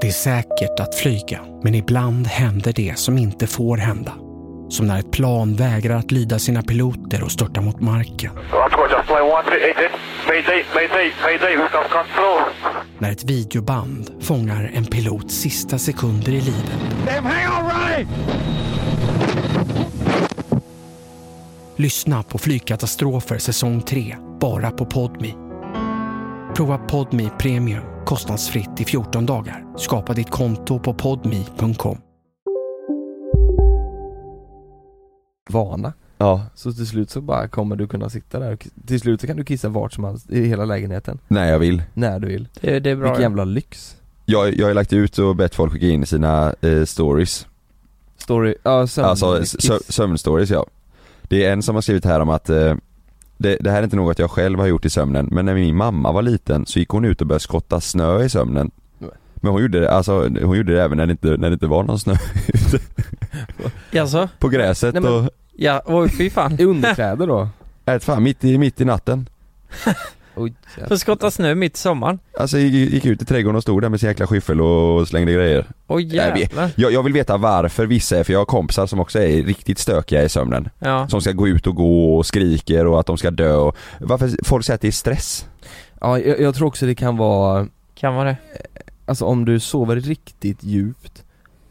Speaker 8: Det är säkert att flyga, men ibland händer det som inte får hända. Som när ett plan vägrar att lyda sina piloter och störtar mot marken. När ett videoband fångar en pilots sista sekunder i livet. Lyssna på Flygkatastrofer säsong 3, bara på Podmi. Prova Podmi Premium kostnadsfritt i 14 dagar. Skapa ditt konto på podmi.com.
Speaker 3: vana.
Speaker 5: Ja.
Speaker 3: Så till slut så bara kommer du kunna sitta där och kiss- till slut så kan du kissa vart som helst i hela lägenheten.
Speaker 5: Nej jag vill.
Speaker 3: När du vill.
Speaker 4: Det, det är bra.
Speaker 3: Vilken jävla lyx.
Speaker 5: Jag, jag har lagt ut och bett folk skicka in sina eh, stories.
Speaker 3: Story, ja sömn,
Speaker 5: Alltså
Speaker 3: kiss.
Speaker 5: sö- sömnstories ja. Det är en som har skrivit här om att eh, det, det här är inte något jag själv har gjort i sömnen men när min mamma var liten så gick hon ut och började skotta snö i sömnen.
Speaker 3: Nej.
Speaker 5: Men hon gjorde det, alltså, hon gjorde det även när det inte, när det inte var någon snö ute
Speaker 4: Jaså?
Speaker 5: på gräset
Speaker 4: Nej, men-
Speaker 5: och,
Speaker 4: Ja, oj fy fan.
Speaker 3: I underkläder då.
Speaker 5: äh, fan, mitt i, mitt i natten.
Speaker 3: Oj,
Speaker 4: Får skotta snö mitt i sommaren.
Speaker 5: Alltså gick, gick ut i trädgården och stod där med sin jäkla skyffel och slängde grejer.
Speaker 4: Oj
Speaker 5: Nej, vi-
Speaker 4: jävlar.
Speaker 5: Jag, jag vill veta varför vissa är, för jag har kompisar som också är riktigt stökiga i sömnen.
Speaker 4: Ja.
Speaker 5: Som ska gå ut och gå och skriker och att de ska dö och, varför folk säger att det är stress?
Speaker 3: ja jag, jag tror också det kan vara,
Speaker 4: Kan vara det.
Speaker 3: alltså om du sover riktigt djupt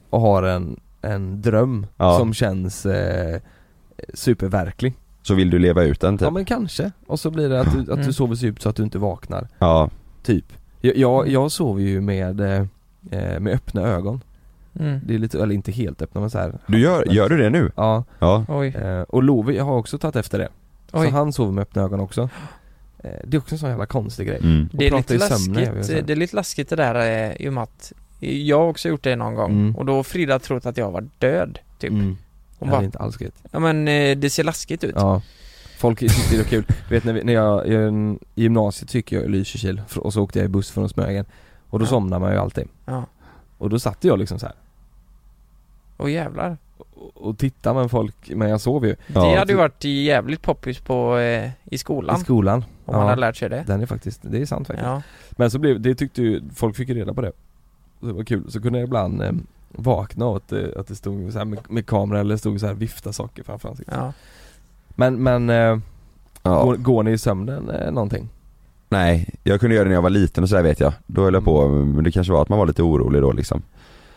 Speaker 3: och har en, en dröm
Speaker 5: Ja.
Speaker 3: som känns eh, superverklig.
Speaker 5: Så vill du leva ut den typ.
Speaker 3: Ja men kanske. Och så blir det att du, att
Speaker 4: Mm.
Speaker 3: du sover så djupt så att du inte vaknar.
Speaker 5: Ja,
Speaker 3: Typ. Jag, jag, jag sover ju med, eh, eh, med öppna ögon.
Speaker 4: Mm.
Speaker 3: Det är lite, eller inte helt öppna men så här.
Speaker 5: du gör, gör du det nu?
Speaker 3: Ja,
Speaker 5: Ja.
Speaker 4: Oj.
Speaker 3: eh, och Lovi har också tagit efter det.
Speaker 4: Oj.
Speaker 3: Så han sover med öppna ögon också. Eh, Det är också en sån jävla konstig grej.
Speaker 5: Mm.
Speaker 3: Och
Speaker 4: Det är,
Speaker 3: prata
Speaker 4: lite
Speaker 3: i sömnen, jag
Speaker 4: läskigt, eh,
Speaker 3: vill säga.
Speaker 4: det är lite läskigt det där eh, i och med att jag har också gjort det någon gång
Speaker 3: Mm.
Speaker 4: och då har Frida trott att jag var död typ.
Speaker 3: Mm.
Speaker 4: Hon
Speaker 3: Det här är
Speaker 4: bara,
Speaker 3: inte alls gött.
Speaker 4: ja men eh, det ser läskigt ut.
Speaker 3: Ja. Folk sitter och kul. Du vet när, vi, när jag, jag, i gymnasiet så gick jag i Lysekil fr- och så åkte jag i buss från Smögen. Och då
Speaker 4: Ja.
Speaker 3: somnar man ju alltid.
Speaker 4: Ja.
Speaker 3: Och då satt jag liksom så här
Speaker 4: Åh jävlar.
Speaker 3: och, och tittade men folk, men jag sov ju.
Speaker 5: Ja.
Speaker 4: det hade ju varit jävligt poppis på, eh, i skolan
Speaker 3: I skolan.
Speaker 4: om man
Speaker 3: ja.
Speaker 4: hade lärt sig det.
Speaker 3: Den är faktiskt, det är sant faktiskt.
Speaker 4: Ja.
Speaker 3: Men så blev, det tyckte ju, folk fick ju reda på det Det var kul, så kunde jag ibland eh, vakna åt att, det- att det stod så här med, med kameran eller stod så här vifta saker framför ansiktet
Speaker 4: Ja.
Speaker 3: Men, men, eh,
Speaker 5: Ja.
Speaker 3: går, går ni i sömnen eh, någonting?
Speaker 5: Nej, jag kunde göra det när jag var liten och sådär vet jag. Då höll jag på, men det kanske var att man var lite orolig då liksom.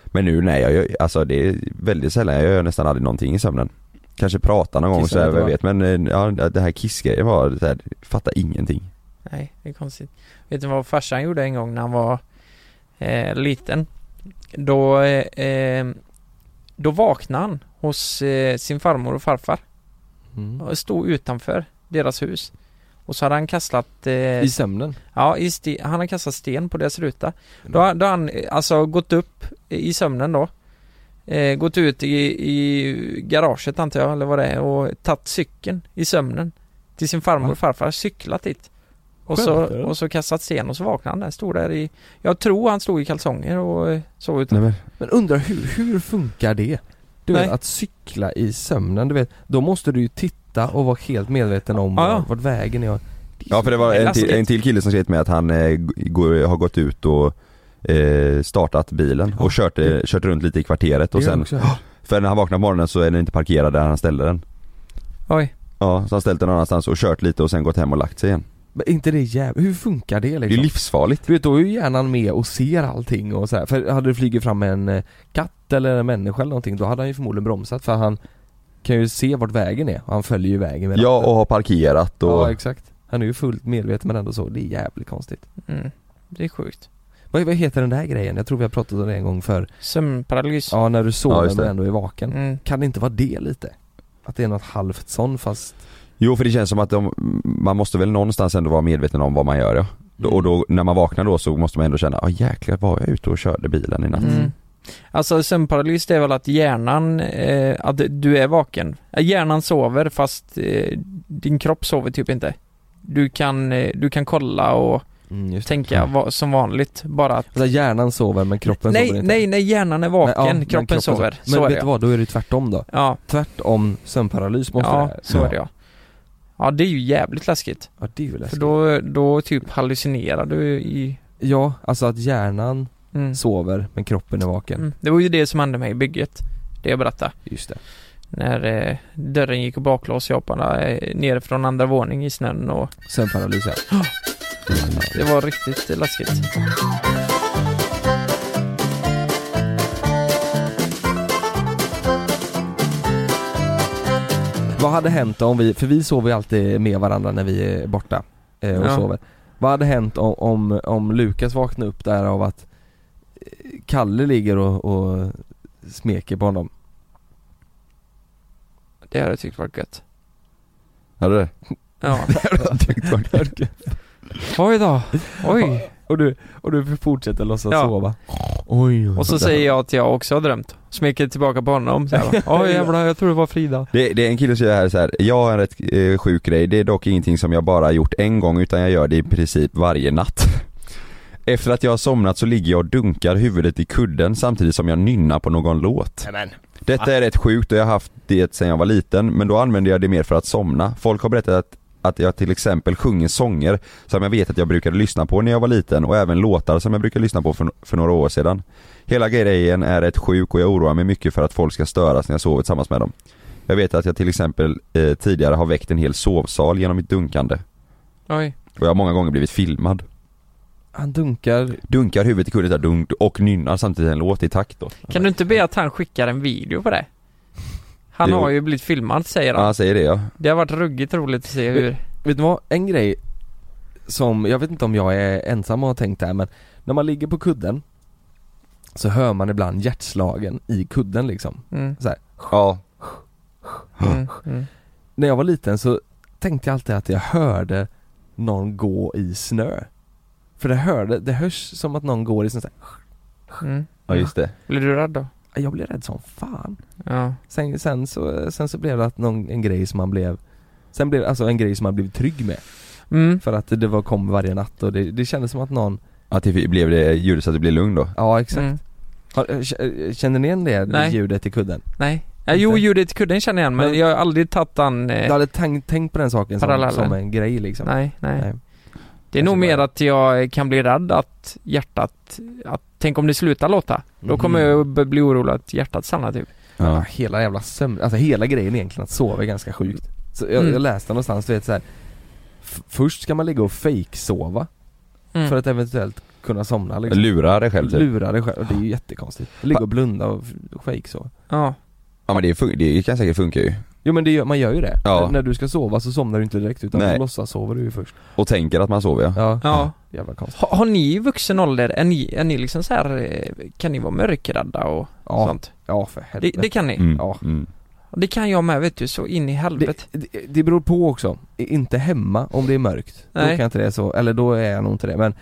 Speaker 5: Men nu nej, jag, gör- alltså det är väldigt sällan, jag gör nästan aldrig någonting i sömnen. Kanske prata någon gång
Speaker 3: Kissa
Speaker 5: sådär,
Speaker 3: lite,
Speaker 5: vem
Speaker 3: va?
Speaker 5: vet. Men eh, ja, det här kissgrejen var, det här, fattar ingenting.
Speaker 4: Nej, det är konstigt. Vet du vad farsan gjorde en gång när han var eh, liten? Då, eh, eh, då vaknade han hos eh, sin farmor och farfar
Speaker 3: Mm.
Speaker 4: och stod utanför deras hus. Och så hade han kastat, eh,
Speaker 3: I sömnen?
Speaker 4: ja, i ste- han hade kastat sten på deras ruta. Då,
Speaker 3: Mm.
Speaker 4: har- då har han eh, alltså gått upp i sömnen då. Eh, gått ut i, i garaget antar jag, eller vad det är, och tagit cykeln i sömnen. Till sin farmor och farfar, cyklat dit. Och så,
Speaker 3: Skämtar du?
Speaker 4: och så kastat sten och så vaknade han där, stod där i Jag tror han stod i kalsonger och eh, sov utan
Speaker 5: Nej, men,
Speaker 3: Men undrar hur, hur funkar det? Du vet
Speaker 4: Nej.
Speaker 3: att cykla i sömnen, du vet, då måste du ju titta och vara helt medveten om
Speaker 4: Ja, ja.
Speaker 3: var- vart vägen är
Speaker 5: ja för det var
Speaker 4: Nej,
Speaker 5: en till,
Speaker 4: läskigt.
Speaker 5: en till kille som skrev till mig att han eh, g- går, har gått ut och eh, startat bilen och kört, eh, kört runt lite i kvarteret och
Speaker 3: Det gör jag
Speaker 5: sen,
Speaker 3: också.
Speaker 5: för när han vaknar på morgonen så är den inte parkerad där han ställde den.
Speaker 4: Oj,
Speaker 3: Mm.
Speaker 5: Ja, så han ställt den någon annanstans och kört lite och sen gått hem och lagt sig igen.
Speaker 3: Men inte det jävligt, hur funkar det liksom?
Speaker 5: Det är livsfarligt
Speaker 3: Du vet, då är ju hjärnan med och ser allting och så här. för hade det flugit fram en eh, katt eller en människa eller någonting då hade han ju förmodligen bromsat för han kan ju se vart vägen är och han följer ju vägen med
Speaker 5: Ja
Speaker 3: ratten.
Speaker 5: och har parkerat och...
Speaker 3: Ja exakt, han är ju fullt medveten men ändå så, det är jävligt konstigt
Speaker 4: Mm. Det är sjukt.
Speaker 3: vad, vad heter den där grejen? Jag tror vi har pratat om det en gång för
Speaker 4: Sömnparalys.
Speaker 3: Ja när du
Speaker 5: Ja,
Speaker 3: sover
Speaker 5: just det.
Speaker 3: men ändå är vaken
Speaker 4: Mm.
Speaker 3: Kan det inte vara det lite? Att det är något halvt sån fast
Speaker 5: Jo för det känns som att de, man måste väl någonstans ändå vara medveten om vad man gör ja. Då-
Speaker 3: Mm.
Speaker 5: Och då, när man vaknar då så måste man ändå känna, ja jäklar var jag ute och körde bilen i natt?
Speaker 4: Mm. Alltså sömnparalys det är väl att hjärnan, eh, att du är vaken. Eh, Hjärnan sover fast eh, din kropp sover typ inte. Du kan, eh, du kan kolla och
Speaker 3: mm, just det.
Speaker 4: tänka va, som vanligt bara att
Speaker 3: Alltså hjärnan sover men kroppen sover
Speaker 4: Nej,
Speaker 3: inte
Speaker 4: nej, nej, hjärnan är
Speaker 3: Nej,
Speaker 4: vaken,
Speaker 3: ja, men
Speaker 4: kroppen, sover.
Speaker 3: Men
Speaker 4: Så är
Speaker 3: vet
Speaker 4: det
Speaker 3: du vad, då är det tvärtom då
Speaker 4: Ja,
Speaker 3: Tvärtom sömnparalys måste det
Speaker 4: ja
Speaker 3: här.
Speaker 4: så är det ja. Ja, det är ju jävligt läskigt.
Speaker 3: Ja det är ju läskigt.
Speaker 4: För då, då typ hallucinerar du i...
Speaker 3: Ja, alltså att hjärnan
Speaker 4: Mm.
Speaker 3: sover men kroppen är vaken.
Speaker 4: Mm. Det var ju det som hände mig i bygget. Det jag berättade.
Speaker 3: Just det.
Speaker 4: När eh, dörren gick och baklås, jag hoppade eh, ner från andra våning i snön och
Speaker 3: Sömnparalys ja.
Speaker 4: det var riktigt läskigt.
Speaker 3: Vad hade hänt om vi, för vi sover ju alltid med varandra när vi är borta eh, och
Speaker 4: Ja.
Speaker 3: sover. Vad hade hänt om, om, om Lukas vaknade upp där av att eh, Kalle ligger och, och smeker på honom?
Speaker 4: Det hade jag tyckt var gött.
Speaker 5: Hade det?
Speaker 4: Ja.
Speaker 5: Tyckte man-
Speaker 4: Oj då. Oj.
Speaker 3: Och du, och du fortsätter låtsas
Speaker 4: Ja.
Speaker 3: sova? Oj, oj.
Speaker 4: Och så säger jag att jag också har drömt. Smeker tillbaka på honom så här, va. Oj jävlar, jag tror det var Frida.
Speaker 5: Det, det är en kille som gör här så här. jag har en rätt eh, sjuk grej, det är dock ingenting som jag bara gjort en gång utan jag gör det i princip varje natt. Efter att jag har somnat så ligger jag och dunkar huvudet i kudden samtidigt som jag nynnar på någon låt.
Speaker 3: Amen.
Speaker 5: Detta är rätt sjukt och jag har haft det sedan jag var liten men då använder jag det mer för att somna. Folk har berättat att att jag till exempel sjunger sånger som jag vet att jag brukade lyssna på när jag var liten och även låtar som jag brukade lyssna på för, för några år sedan. Hela grejen är rätt sjuk och jag oroar mig mycket för att folk ska störas när jag sover tillsammans med dem. Jag vet att jag till exempel eh, tidigare har väckt en hel sovsal genom mitt dunkande
Speaker 4: Oj.
Speaker 5: och jag har många gånger blivit filmad.
Speaker 3: Han dunkar,
Speaker 5: Dunkar huvudet i kudden där dunk och nynnar samtidigt en låt i takt då.
Speaker 4: Kan du inte be att han skickar en video på det? Han
Speaker 5: Jo.
Speaker 4: har ju blivit filmad säger
Speaker 5: Ja,
Speaker 4: han.
Speaker 5: han säger det ja.
Speaker 4: Det har varit ruggigt roligt att se hur...
Speaker 3: vet du vad? En grej som, jag vet inte om jag är ensam och har tänkt det här men när man ligger på kudden så hör man ibland hjärtslagen i kudden liksom.
Speaker 4: Mm,
Speaker 5: Ja,
Speaker 4: mm, mm.
Speaker 3: När jag var liten så tänkte jag alltid att jag hörde någon gå i snö. För det hörde, det hörs som att någon går i snö så här.
Speaker 4: Mm.
Speaker 5: ja just det.
Speaker 4: Blir du rädd då?
Speaker 3: Jag blev rädd som fan.
Speaker 4: Ja.
Speaker 3: Sen, sen, så, sen så blev det att någon, en grej som man blev Sen blev det alltså en grej som man blev trygg med.
Speaker 4: Mm.
Speaker 3: För att det var, kom varje natt och det, det kändes som att någon
Speaker 5: Att det blev det ljudet så att det blev lugn då.
Speaker 3: Ja exakt.
Speaker 4: Mm.
Speaker 3: Har, eh, k- eh, känner ni igen det
Speaker 4: Nej.
Speaker 3: ljudet i kudden?
Speaker 4: Nej. Ja, jo,
Speaker 3: Inte.
Speaker 4: ljudet i kudden känner jag igen men,
Speaker 3: Men-
Speaker 4: jag har aldrig tagit den...
Speaker 3: Du
Speaker 4: Eh,
Speaker 3: hade tänkt, tänkt på den saken som,
Speaker 4: Parallellen.
Speaker 3: som en grej liksom?
Speaker 4: nej, nej.
Speaker 3: Nej.
Speaker 4: Det är nog
Speaker 3: Kanske
Speaker 4: mer
Speaker 3: bara-
Speaker 4: att jag kan bli rädd att hjärtat... Att, tänk om det slutar låta? Då kommer
Speaker 3: Mhm.
Speaker 4: jag b- bli orolig att hjärtat stannar typ.
Speaker 3: Ja.
Speaker 5: Ja.
Speaker 3: hela jävla sömn, alltså hela grejen egentligen att sova är ganska sjukt. Så jag,
Speaker 4: Mm.
Speaker 3: jag läste någonstans, du vet så här. f- Först ska man ligga och fake sova
Speaker 4: Mm.
Speaker 3: för att eventuellt kunna somna liksom.
Speaker 5: Lura dig själv typ.
Speaker 3: Lura dig själv, och det är ju jättekonstigt. Ligga och blunda och f- fake så.
Speaker 4: Ja.
Speaker 5: Ja men det, fun- det kan säkert funka ju.
Speaker 3: Jo men det gör, man gör ju det.
Speaker 5: Ja.
Speaker 3: N- När du ska sova så somnar du inte direkt utan
Speaker 5: Nej.
Speaker 3: du låtsas sover du ju först.
Speaker 5: Och tänker att man sover ja.
Speaker 3: Ja.
Speaker 4: Ja.
Speaker 3: Jävla konstigt.
Speaker 4: Har, har ni i vuxen ålder, är ni, är ni liksom så här, eh, kan ni vara mörkrädda och
Speaker 3: Ja,
Speaker 4: sånt?
Speaker 3: ja för
Speaker 4: Det,
Speaker 3: helvete.
Speaker 4: det kan ni?
Speaker 5: Mm.
Speaker 3: Ja.
Speaker 5: Mm.
Speaker 4: Det kan jag med vet du, så in i helvete.
Speaker 3: Det, det, det beror på också, I- inte hemma om det är mörkt. Då
Speaker 4: Nej.
Speaker 3: kan jag inte det så, eller då är jag nog inte det men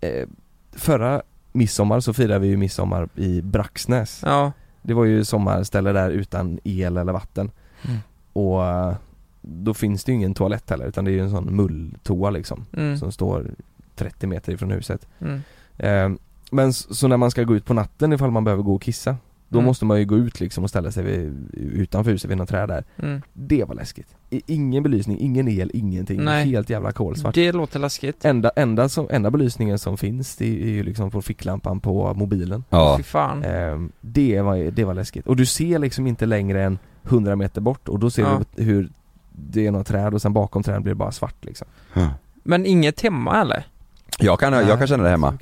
Speaker 3: eh, Förra midsommar så firade vi ju midsommar i Braxnäs.
Speaker 4: Ja.
Speaker 3: Det var ju sommarställe där utan el eller vatten.
Speaker 4: Mm.
Speaker 3: Och eh, då finns det ju ingen toalett heller utan det är ju en sån mulltoa liksom
Speaker 4: Mm.
Speaker 3: som står 30 meter ifrån huset.
Speaker 4: Mm.
Speaker 3: Eh, men s- så när man ska gå ut på natten ifall man behöver gå och kissa då
Speaker 4: Mm.
Speaker 3: måste man ju gå ut liksom och ställa sig vid, utanför huset vid något träd där.
Speaker 4: Mm.
Speaker 3: Det var läskigt. I- Ingen belysning, ingen el, ingenting.
Speaker 4: Nej.
Speaker 3: Helt jävla kolsvart.
Speaker 4: Det låter läskigt.
Speaker 3: Enda, enda, som, enda belysningen som finns det är ju liksom från ficklampan på mobilen.
Speaker 5: Ja.
Speaker 4: Fy fan.
Speaker 3: Ehm, det, var, det var läskigt. Och du ser liksom inte längre än 100 meter bort och då ser
Speaker 4: Ja.
Speaker 3: du hur det är några träd och sen bakom träden blir det bara svart liksom.
Speaker 4: Men inget hemma eller?
Speaker 5: Jag kan, jag kan känna det hemma.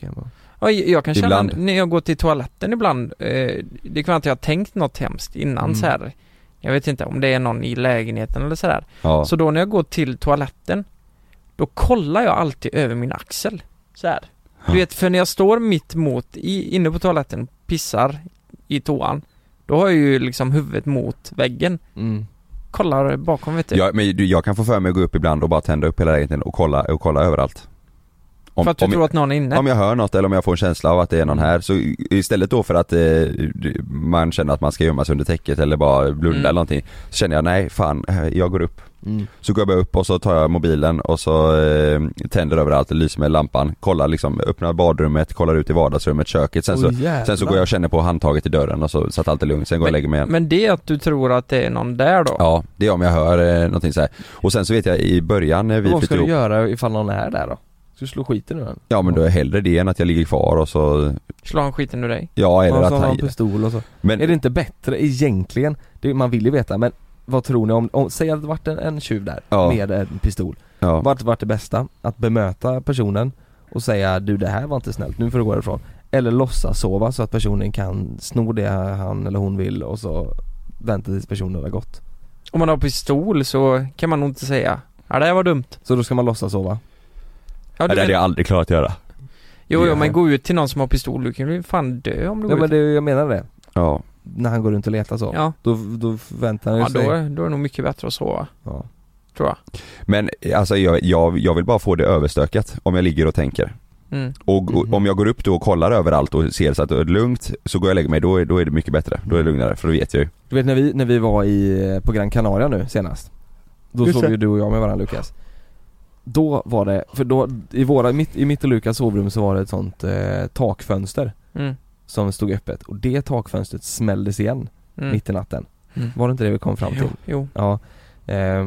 Speaker 4: Ja, jag kan känna
Speaker 5: Ibland.
Speaker 4: när jag går till toaletten ibland, eh, det kan vara att jag har tänkt något hemskt innan
Speaker 5: Mm.
Speaker 4: så här. Jag vet inte om det är någon i lägenheten eller sådär.
Speaker 5: Ja.
Speaker 4: Så då när jag går till toaletten, då kollar jag alltid över min axel. Så här. Du vet, för när jag står mitt mot, i, inne på toaletten, pissar i toan, då har jag ju liksom huvudet mot väggen.
Speaker 3: Mm,
Speaker 4: Kollar bakom vet du.
Speaker 5: Jag, men du, jag kan få för mig att gå upp ibland och bara tända upp hela lägenheten och kolla, och kolla överallt. Om,
Speaker 4: för att du
Speaker 5: om,
Speaker 4: tror att någon är inne.
Speaker 5: om jag hör något eller om jag får en känsla av att det är någon här så i- istället då för att eh, du- man känner att man ska gömma sig under täcket eller bara blunda
Speaker 4: Mm.
Speaker 5: eller någonting så känner jag nej fan, eh, jag går upp.
Speaker 3: Mm.
Speaker 5: Så går jag bara upp och så tar jag mobilen och så eh, tänder överallt, lyser med lampan, kollar liksom, öppnar badrummet, kollar ut i vardagsrummet, köket sen så,
Speaker 4: Oj, jävlar.
Speaker 5: sen så går jag och känner på handtaget i dörren och så, så att allt är lugnt, sen går jag och lägger mig igen.
Speaker 4: Men det är att du tror att det är någon där då?
Speaker 5: Ja, det är om jag hör eh, någonting så här. Och sen så vet jag i början när vi
Speaker 3: Vad ska
Speaker 5: flyttade
Speaker 3: du
Speaker 5: ihop
Speaker 3: göra ifall någon är där då? Ska du slå skiten ur den?
Speaker 5: Ja men då är hellre det än att jag ligger kvar och så
Speaker 4: Slår han skiten ur dig?
Speaker 5: Ja eller
Speaker 3: och
Speaker 5: att
Speaker 3: så Alltså, har
Speaker 5: han
Speaker 3: han pistol och så.
Speaker 5: Men-
Speaker 3: är det inte bättre egentligen? Det, man vill ju veta men vad tror ni om, om säg att det varit en, en tjuv där
Speaker 5: Ja.
Speaker 3: med en pistol.
Speaker 5: Ja.
Speaker 3: Vart varit det bästa? Att bemöta personen och säga du det här var inte snällt, nu får du gå därifrån. Eller låtsas sova så att personen kan sno det han eller hon vill och så vänta tills personen har gått.
Speaker 4: Om man har pistol så kan man nog inte säga Ja det här var dumt.
Speaker 3: Så då ska man låtsas sova?
Speaker 4: Ja, du vet-
Speaker 5: aldrig klarat att göra
Speaker 4: Jo, jo
Speaker 3: Ja.
Speaker 4: men gå ut till någon som har pistol, du kan ju fan dö om du
Speaker 3: Nej
Speaker 4: går
Speaker 3: men
Speaker 4: ut.
Speaker 3: det, jag menar det.
Speaker 5: Ja
Speaker 3: När han går runt och letar så.
Speaker 4: Ja.
Speaker 3: Då, då förväntar han ju
Speaker 4: Ja, då,
Speaker 3: sig.
Speaker 4: är- då är det nog mycket bättre att sova.
Speaker 3: Ja.
Speaker 4: Tror jag.
Speaker 5: Men eh, alltså jag, jag, jag vill bara få det överstökat om jag ligger och tänker
Speaker 4: Mm.
Speaker 5: Och och om jag går upp då och kollar överallt och ser så att det är lugnt Så går jag och lägger mig, då är, då är det mycket bättre, då är det lugnare för då vet jag ju
Speaker 3: Du vet när vi, när vi var i, eh, på Gran Canaria nu senast Då
Speaker 5: Just
Speaker 3: sov
Speaker 5: det.
Speaker 3: ju du och jag med varandra Lukas Då var det, för då, i våra, mitt, i mitt och Lukas sovrum så var det ett sånt eh, takfönster
Speaker 4: Mm.
Speaker 3: Som stod öppet och det takfönstret smälldes igen
Speaker 4: Mm.
Speaker 3: mitt i natten
Speaker 4: Mm.
Speaker 3: Var det inte det vi kom fram till?
Speaker 4: Jo, jo.
Speaker 3: Ja eh,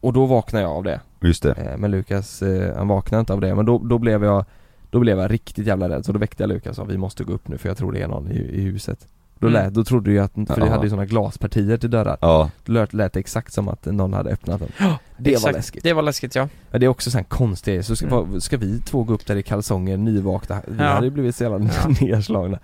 Speaker 3: Och då vaknade jag av det
Speaker 5: Just det
Speaker 3: eh, Men Lukas, eh, han vaknade inte av det men då, då blev jag då blev jag riktigt jävla rädd så då väckte jag Lukas och sa vi måste gå upp nu för jag tror det är någon i, i huset Då,
Speaker 4: Mm.
Speaker 3: lät, då trodde jag att, för det
Speaker 5: Ja.
Speaker 3: hade ju sådana glaspartier till dörrar
Speaker 5: Ja
Speaker 3: Då lät, lät det exakt som att någon hade öppnat den Det var
Speaker 4: Exakt.
Speaker 3: läskigt
Speaker 4: Det var läskigt ja.
Speaker 3: Ja, det är också sån konstig så ska,
Speaker 4: Mm.
Speaker 3: vad- ska vi två gå upp där i kalsonger nyvakna? Vi
Speaker 4: Ja.
Speaker 3: hade ju blivit så jävla nerslagna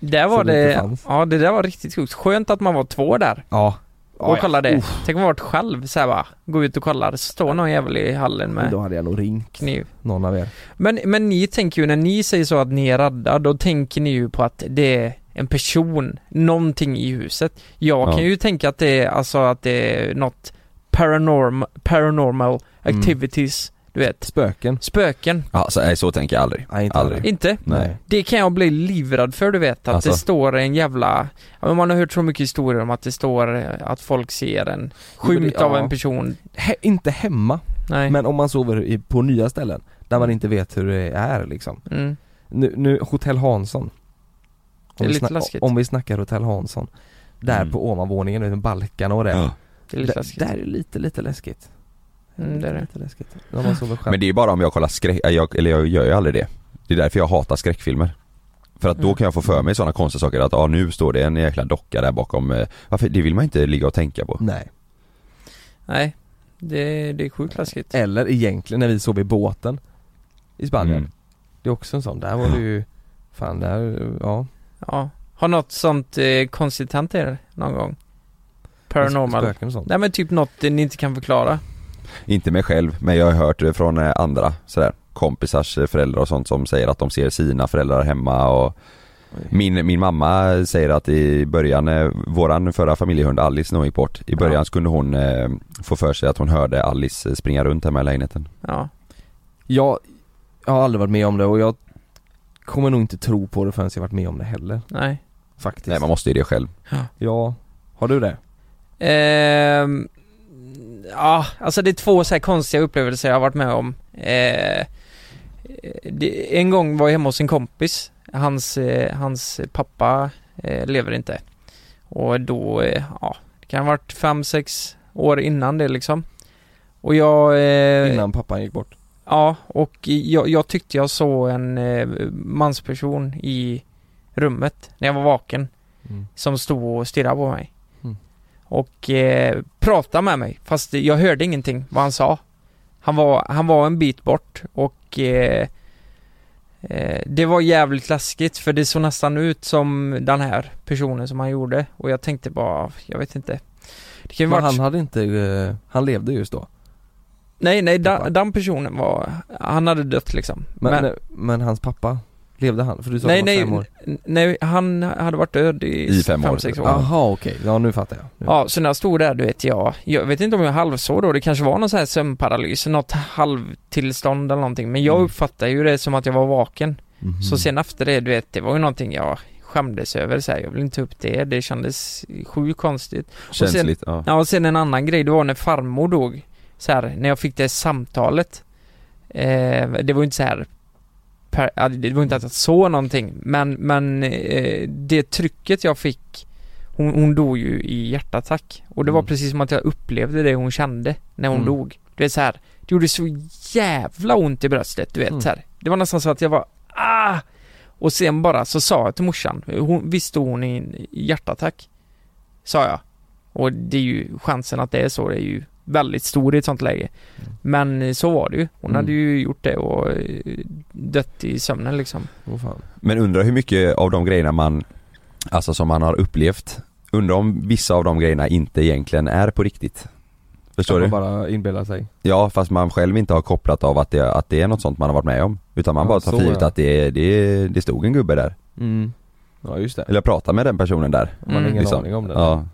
Speaker 4: Där var
Speaker 3: Som inte
Speaker 4: det,
Speaker 3: fanns.
Speaker 4: ja det där var riktigt sjukt. Skönt att man var två där.
Speaker 3: Ja
Speaker 4: och kolla det. Tänk om man varit själv så här bara, gå ut och kollar, det står någon jävel i hallen
Speaker 3: Men
Speaker 4: med
Speaker 3: Då hade jag nog ringt
Speaker 4: kniv.
Speaker 3: någon av er
Speaker 4: Men, men ni tänker ju, när ni säger så att ni är rädda, då tänker ni ju på att det är en person, någonting i huset. Jag
Speaker 5: Ja.
Speaker 4: kan ju tänka att det är, alltså att det är något paranorm, paranormal
Speaker 3: Mm.
Speaker 4: activities, du vet.
Speaker 3: Spöken
Speaker 4: Spöken.
Speaker 5: Alltså nej så tänker jag aldrig,
Speaker 3: Nej inte
Speaker 5: aldrig
Speaker 4: Inte?
Speaker 5: Nej.
Speaker 4: Det kan jag bli livrädd för du vet, att
Speaker 5: Alltså.
Speaker 4: det står en jävla, ja, men man har hört så mycket historier om att det står eh, att folk ser en
Speaker 3: men det-
Speaker 4: skymt av
Speaker 3: ja.
Speaker 4: en person.
Speaker 3: He, Inte hemma
Speaker 4: Nej.
Speaker 3: Men om man sover i, på nya ställen Där man inte vet hur det är liksom
Speaker 4: Mm.
Speaker 3: Nu, nu Hotell Hansson
Speaker 4: Det är
Speaker 3: vi
Speaker 4: lite
Speaker 3: snack-
Speaker 4: läskigt.
Speaker 3: Om vi snackar Hotell Hansson Där
Speaker 5: Mm.
Speaker 3: på ovanvåningen, du vet, med balkarna och det
Speaker 5: Ja.
Speaker 4: Det är lite
Speaker 3: Där-
Speaker 4: läskigt.
Speaker 3: Där är det lite, lite läskigt
Speaker 4: Mm, det är det.
Speaker 3: Lite läskigt När man sover själv
Speaker 5: Men det är bara om jag kollar skräck, äh, jag, eller jag gör ju aldrig det Det är därför jag hatar skräckfilmer För att då kan jag få för mig sådana konstiga saker att ah, nu står det en jäkla docka där bakom eh, Varför, det vill man inte ligga och tänka på
Speaker 3: Nej
Speaker 4: Nej, det, det är sjukt läskigt.
Speaker 3: Eller egentligen när vi sov i båten I Spanien
Speaker 5: Mm.
Speaker 3: Det är också en sån, där var det ju Fan där, ja
Speaker 4: Ja. Har något sånt eh, konstigt hänt er någon gång? Paranormal?
Speaker 3: Spöken och sånt
Speaker 4: Nej men typ något eh, ni inte kan förklara.
Speaker 5: Inte mig själv, men jag har hört det från eh, andra sådär kompisars eh, föräldrar och sånt som säger att de ser sina föräldrar hemma och min, min mamma säger att i början, eh, våran förra familjehund Alice när hon gick bort, i början så kunde hon eh, få för sig att hon hörde Alice eh, springa runt hemma i lägenheten.
Speaker 4: Ja.
Speaker 3: Jag, jag har aldrig varit med om det och jag Kommer nog inte tro på det förrän jag varit med om det heller
Speaker 4: Nej.
Speaker 3: Faktiskt
Speaker 5: Nej man måste ju det själv.
Speaker 3: Ja Har du det?
Speaker 4: Ehm, ja, alltså det är två så här konstiga upplevelser jag har varit med om. Eh, det, en gång var jag hemma hos en kompis. Hans, eh, hans pappa eh, lever inte. Och då, eh, ja, det kan ha varit fem, sex år innan det liksom. Och jag... eh,
Speaker 3: Innan pappan gick bort?
Speaker 4: Ja, och jag, jag tyckte jag såg en eh, mansperson i rummet när jag var vaken
Speaker 3: Mm.
Speaker 4: som stod och stirrade på mig.
Speaker 3: Mm.
Speaker 4: Och eh, pratade med mig, fast jag hörde ingenting vad han sa. Han var, han var en bit bort och eh, eh, det var jävligt läskigt för det såg nästan ut som den här personen som han gjorde och jag tänkte bara, jag vet inte. Det kan ju
Speaker 3: Men
Speaker 4: varit-
Speaker 3: han hade inte, eh, han levde just då.
Speaker 4: Nej, nej, den, den personen var, han hade dött liksom.
Speaker 3: Men, eh, men, hans pappa, levde han? För du sa
Speaker 4: nej,
Speaker 3: han var
Speaker 4: nej,
Speaker 3: fem år.
Speaker 4: n- nej, han hade varit död i, fem, sex år.
Speaker 3: Jaha okej, ja nu fattar jag. Nu.
Speaker 4: Ja, så när jag stod där, du vet jag, jag vet inte om jag halvsov då, det kanske var någon sån här sömnparalys, något halvtillstånd eller någonting, men
Speaker 3: Mm.
Speaker 4: jag uppfattade ju det som att jag var vaken.
Speaker 3: Mhm.
Speaker 4: Så sen efter det, du vet, det var ju någonting jag skämdes över så här, jag vill inte ta upp det, det kändes sjukt konstigt. Och sen-
Speaker 5: Känsligt, ja.
Speaker 4: Ja, och sen en annan grej, det var när farmor dog, så här, när jag fick det samtalet, eh, det var ju inte så här per, ja, det var inte att jag såg någonting, men, men eh, det trycket jag fick hon, hon dog ju i hjärtattack och det var precis som att jag upplevde det hon kände när hon
Speaker 3: Mm.
Speaker 4: dog. Du vet så här, det gjorde så jävla ont i bröstet, du vet
Speaker 3: Mm.
Speaker 4: så här. Det var nästan så att jag var ah! Och sen bara så sa jag till morsan, hon, visst stod hon i en hjärtattack? Sa jag. Och det är ju, chansen att det är så det är ju väldigt stor i ett sånt läge. Men eh, så var det ju. Hon
Speaker 5: Mm.
Speaker 4: hade ju gjort det och eh, dött i sömnen liksom.
Speaker 3: Åh fan.
Speaker 5: Men undrar hur mycket av de grejerna man, alltså som man har upplevt, undrar om vissa av de grejerna inte egentligen är på riktigt. Förstår
Speaker 3: Kan
Speaker 5: du?
Speaker 3: man bara inbilla sig.
Speaker 5: Ja fast man själv inte har kopplat av att det, att det är något sånt man har varit med om. Utan man
Speaker 3: Ja,
Speaker 5: bara tar
Speaker 3: så,
Speaker 5: för givet
Speaker 3: ja.
Speaker 5: att det, är- det, är- det stod en gubbe där.
Speaker 3: Mm. Ja just det.
Speaker 5: Eller jag pratade med den personen där.
Speaker 3: Man har ingen aning om det.
Speaker 5: Ja.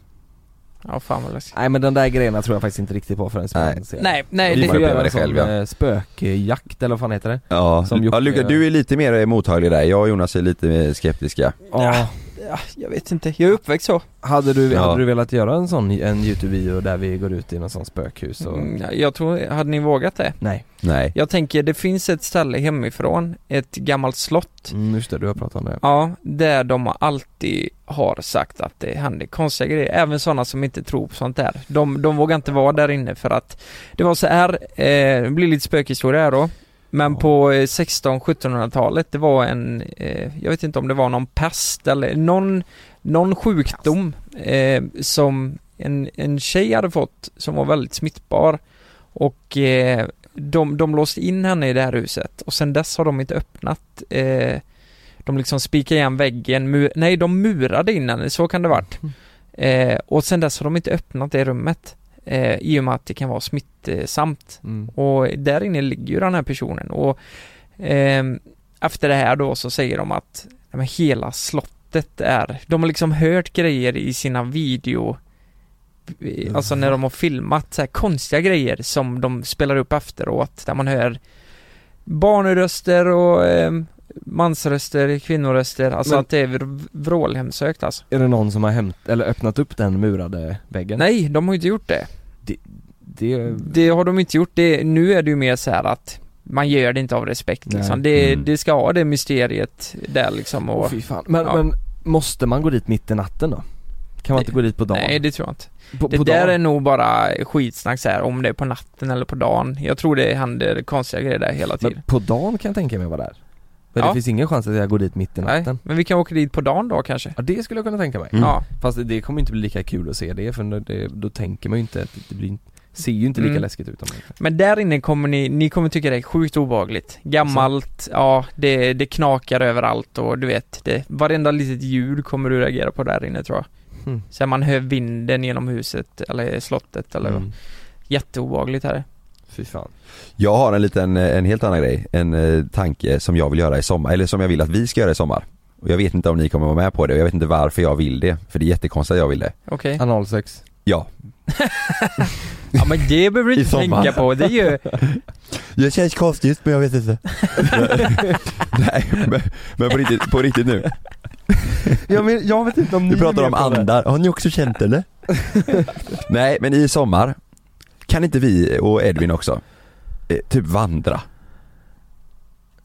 Speaker 4: Ja, fan vad läskigt.
Speaker 3: Nej men den där grejerna tror jag faktiskt inte riktigt på förrän man ser.
Speaker 4: Nej, nej,
Speaker 3: Vi
Speaker 4: det-
Speaker 3: får
Speaker 5: Man
Speaker 3: göra
Speaker 5: upplever
Speaker 3: en
Speaker 5: det
Speaker 3: sån
Speaker 5: själv, ja.
Speaker 3: eh, spökjakt eller vad fan heter det?
Speaker 5: Ja,
Speaker 3: Som
Speaker 5: ja
Speaker 3: Jocke-
Speaker 5: Luka, du är lite mer mottaglig där. Jag och Jonas är lite mer skeptiska.
Speaker 3: Ja.
Speaker 4: Ja, jag vet inte, jag är uppväxt så.
Speaker 3: Hade du,
Speaker 5: Ja.
Speaker 3: hade du velat göra en sån, en YouTube-video där vi går ut i någon sån spökhus och...
Speaker 4: Mm, Jag tror, hade ni vågat det?
Speaker 3: Nej.
Speaker 5: Nej.
Speaker 4: Jag tänker, det finns ett ställe hemifrån, ett gammalt slott.
Speaker 3: Mm, just det, du har pratat om det.
Speaker 4: Ja, där de alltid har sagt att det händer konstiga grejer. Även sådana som inte tror på sånt där. De, de vågar inte vara där inne för att det var så här, eh, det blir lite spökhistoria här då. Men på eh, 16-1700-talet, det var en, eh, jag vet inte om det var någon pest eller någon, någon sjukdom eh, som en, en tjej hade fått som var väldigt smittbar. Och eh, de, de låste in henne i det här huset och sen dess har de inte öppnat eh, de liksom spikade igen väggen, mu- nej de murade in henne, så kan det varit.
Speaker 3: Mm.
Speaker 4: Eh, och sen dess har de inte öppnat det rummet. Eh, I och med att det kan vara smittsamt.
Speaker 3: Mm.
Speaker 4: Och där inne ligger ju den här personen och ehm, efter det här då så säger de att ja, men hela slottet är, de har liksom hört grejer i sina video Alltså när de har filmat så här konstiga grejer som de spelar upp efteråt där man hör barnröster och ehm, mansröster, kvinnoröster, alltså
Speaker 3: Men-
Speaker 4: att det är vr- vrålhemsökt alltså.
Speaker 3: Är det någon som har hämt, eller öppnat upp den murade väggen?
Speaker 4: Nej, de har ju inte gjort det.
Speaker 3: Det,
Speaker 4: Det har de inte gjort. Det, nu är det ju mer så här att man gör det inte av respekt
Speaker 3: Nej.
Speaker 4: liksom. Det,
Speaker 5: Mm.
Speaker 4: det ska ha det mysteriet där liksom och...
Speaker 3: Åh, fy fan. Men,
Speaker 4: Ja.
Speaker 3: men måste man gå dit mitt i natten då? Kan man inte gå dit på dagen?
Speaker 4: Nej, det tror jag inte.
Speaker 3: på,
Speaker 4: Det
Speaker 3: på
Speaker 4: där
Speaker 3: dagen?
Speaker 4: är nog bara skitsnack så här om det är på natten eller på dagen. Jag tror det händer konstiga grejer där hela tiden.
Speaker 3: Men på dagen kan jag tänka mig vara där. Men
Speaker 4: Ja.
Speaker 3: det finns ingen chans att jag går dit mitt i
Speaker 4: Nej,
Speaker 3: natten.
Speaker 4: men vi kan åka dit på dagen då kanske?
Speaker 3: Ja det skulle jag kunna tänka mig.
Speaker 5: Mm.
Speaker 4: Ja.
Speaker 3: Fast det- det kommer inte bli lika kul att se det för när det, då tänker man ju inte att det blir, ser ju inte lika
Speaker 4: Mm.
Speaker 3: läskigt ut om man
Speaker 4: Men där inne kommer ni, ni kommer tycka det är sjukt obehagligt. Gammalt, ja, det, det knakar överallt och du vet, det, varenda litet ljud kommer du reagera på där inne tror jag.
Speaker 3: Mm.
Speaker 4: Sen man hör vinden genom huset eller slottet eller
Speaker 3: Mm.
Speaker 4: jätteobehagligt här.
Speaker 3: Fy fan.
Speaker 5: Jag har en liten, en helt annan grej. En eh, tanke som jag vill göra i sommar, eller som jag vill att vi ska göra i sommar. Och jag vet inte om ni kommer vara med på det och jag vet inte varför jag vill det. För det är jättekonstigt att jag vill det.
Speaker 4: Okej.
Speaker 3: Analsex.
Speaker 5: Ja.
Speaker 4: Ja men det behöver du
Speaker 5: I
Speaker 4: inte tänka
Speaker 5: sommar.
Speaker 4: på, det är ju,
Speaker 5: Det känns konstigt men jag vet inte. Nej men, men på, riktigt, på riktigt nu.
Speaker 3: Ja, men jag vet inte om
Speaker 5: Vi pratar om andar, har ni också känt eller? Nej men i sommar kan inte vi och Edvin också eh, typ vandra?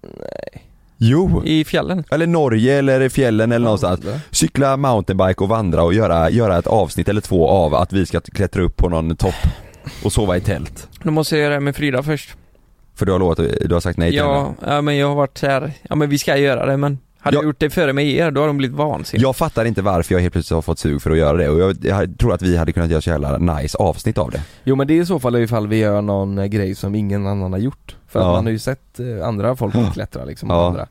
Speaker 5: Nej. Jo!
Speaker 4: i fjällen.
Speaker 5: Eller Norge eller i fjällen eller någonstans. Cykla mountainbike och vandra och göra, göra ett avsnitt eller två av att vi ska klättra upp på någon topp och sova i tält.
Speaker 4: Då måste jag göra det med Frida först.
Speaker 5: För du har, lovat, du har sagt nej till henne.
Speaker 4: Ja, ja men jag har varit så här, ja men vi ska göra det men Hade du gjort det före med er, då har de blivit vansinniga.
Speaker 5: Jag fattar inte varför jag helt plötsligt har fått sug för att göra det och jag, jag tror att vi hade kunnat göra så jävla nice avsnitt av det.
Speaker 3: Jo men det är i så fall ifall vi gör någon eh, grej som ingen annan har gjort. För
Speaker 5: Ja.
Speaker 3: att man har ju sett eh, andra folk klättra liksom, och
Speaker 5: Ja.
Speaker 3: andra.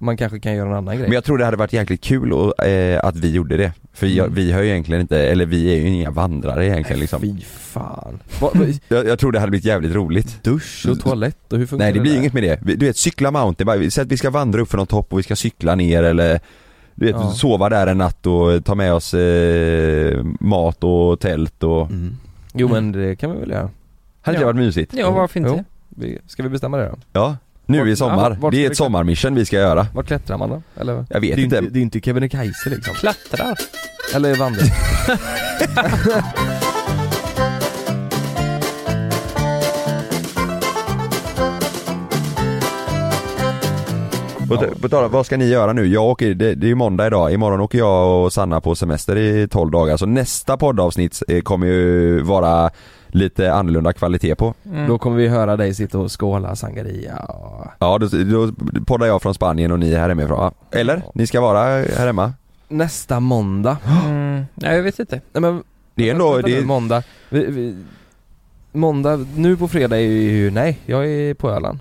Speaker 3: Man kanske kan göra en annan grej.
Speaker 5: Men jag tror det hade varit jäkligt kul och, eh, att vi gjorde det. För jag, vi har ju egentligen inte, eller vi är ju inga vandrare egentligen liksom.
Speaker 3: Mm. Fy fan.
Speaker 5: jag, jag tror det hade blivit jävligt roligt. Dusch
Speaker 3: och toalett och hur funkar
Speaker 5: Mm. Nej det
Speaker 3: det
Speaker 5: blir
Speaker 3: där?
Speaker 5: inget med det. Vi- Du vet cykla mountainbike, säg att vi ska vandra upp för någon topp och vi ska cykla ner eller du vet,
Speaker 3: Ja.
Speaker 5: sova där en natt och ta med oss eh, mat och tält och
Speaker 3: Mm. Jo men det kan vi väl göra.
Speaker 5: Hade det varit mysigt?
Speaker 4: Ja, varför inte?
Speaker 3: Jo. Vi- Ska vi bestämma det då?
Speaker 5: Ja, nu i
Speaker 3: ja, vart
Speaker 5: sommar. det
Speaker 3: ska
Speaker 5: är
Speaker 3: vi-
Speaker 5: ett sommarmission vi ska göra.
Speaker 3: Vart klättrar man då? Eller?
Speaker 5: Jag vet
Speaker 3: det är
Speaker 5: inte.
Speaker 3: Ju inte. Det är ju inte Kebnekaise liksom.
Speaker 4: Klättrar?
Speaker 3: Eller vandrar.
Speaker 5: På, ta- på tal om, vad ska ni göra nu? Jag åker, det, det är ju måndag idag, imorgon åker jag och Sanna på semester i 12 dagar så nästa poddavsnitt eh, kommer ju vara lite annorlunda kvalitet på.
Speaker 4: Mm.
Speaker 3: Då kommer vi höra dig sitta och skåla sangria och...
Speaker 5: Ja, då, då poddar jag från Spanien och ni är här hemifrån. va? Eller? Ni ska vara här hemma?
Speaker 3: Nästa måndag.
Speaker 4: Nej jag vet inte.
Speaker 3: Nej men...
Speaker 5: Det är ändå,
Speaker 3: vänta
Speaker 5: det
Speaker 3: nu,
Speaker 5: är,
Speaker 3: måndag. Vi, vi, måndag, nu på fredag är ju... Nej, jag är på Öland.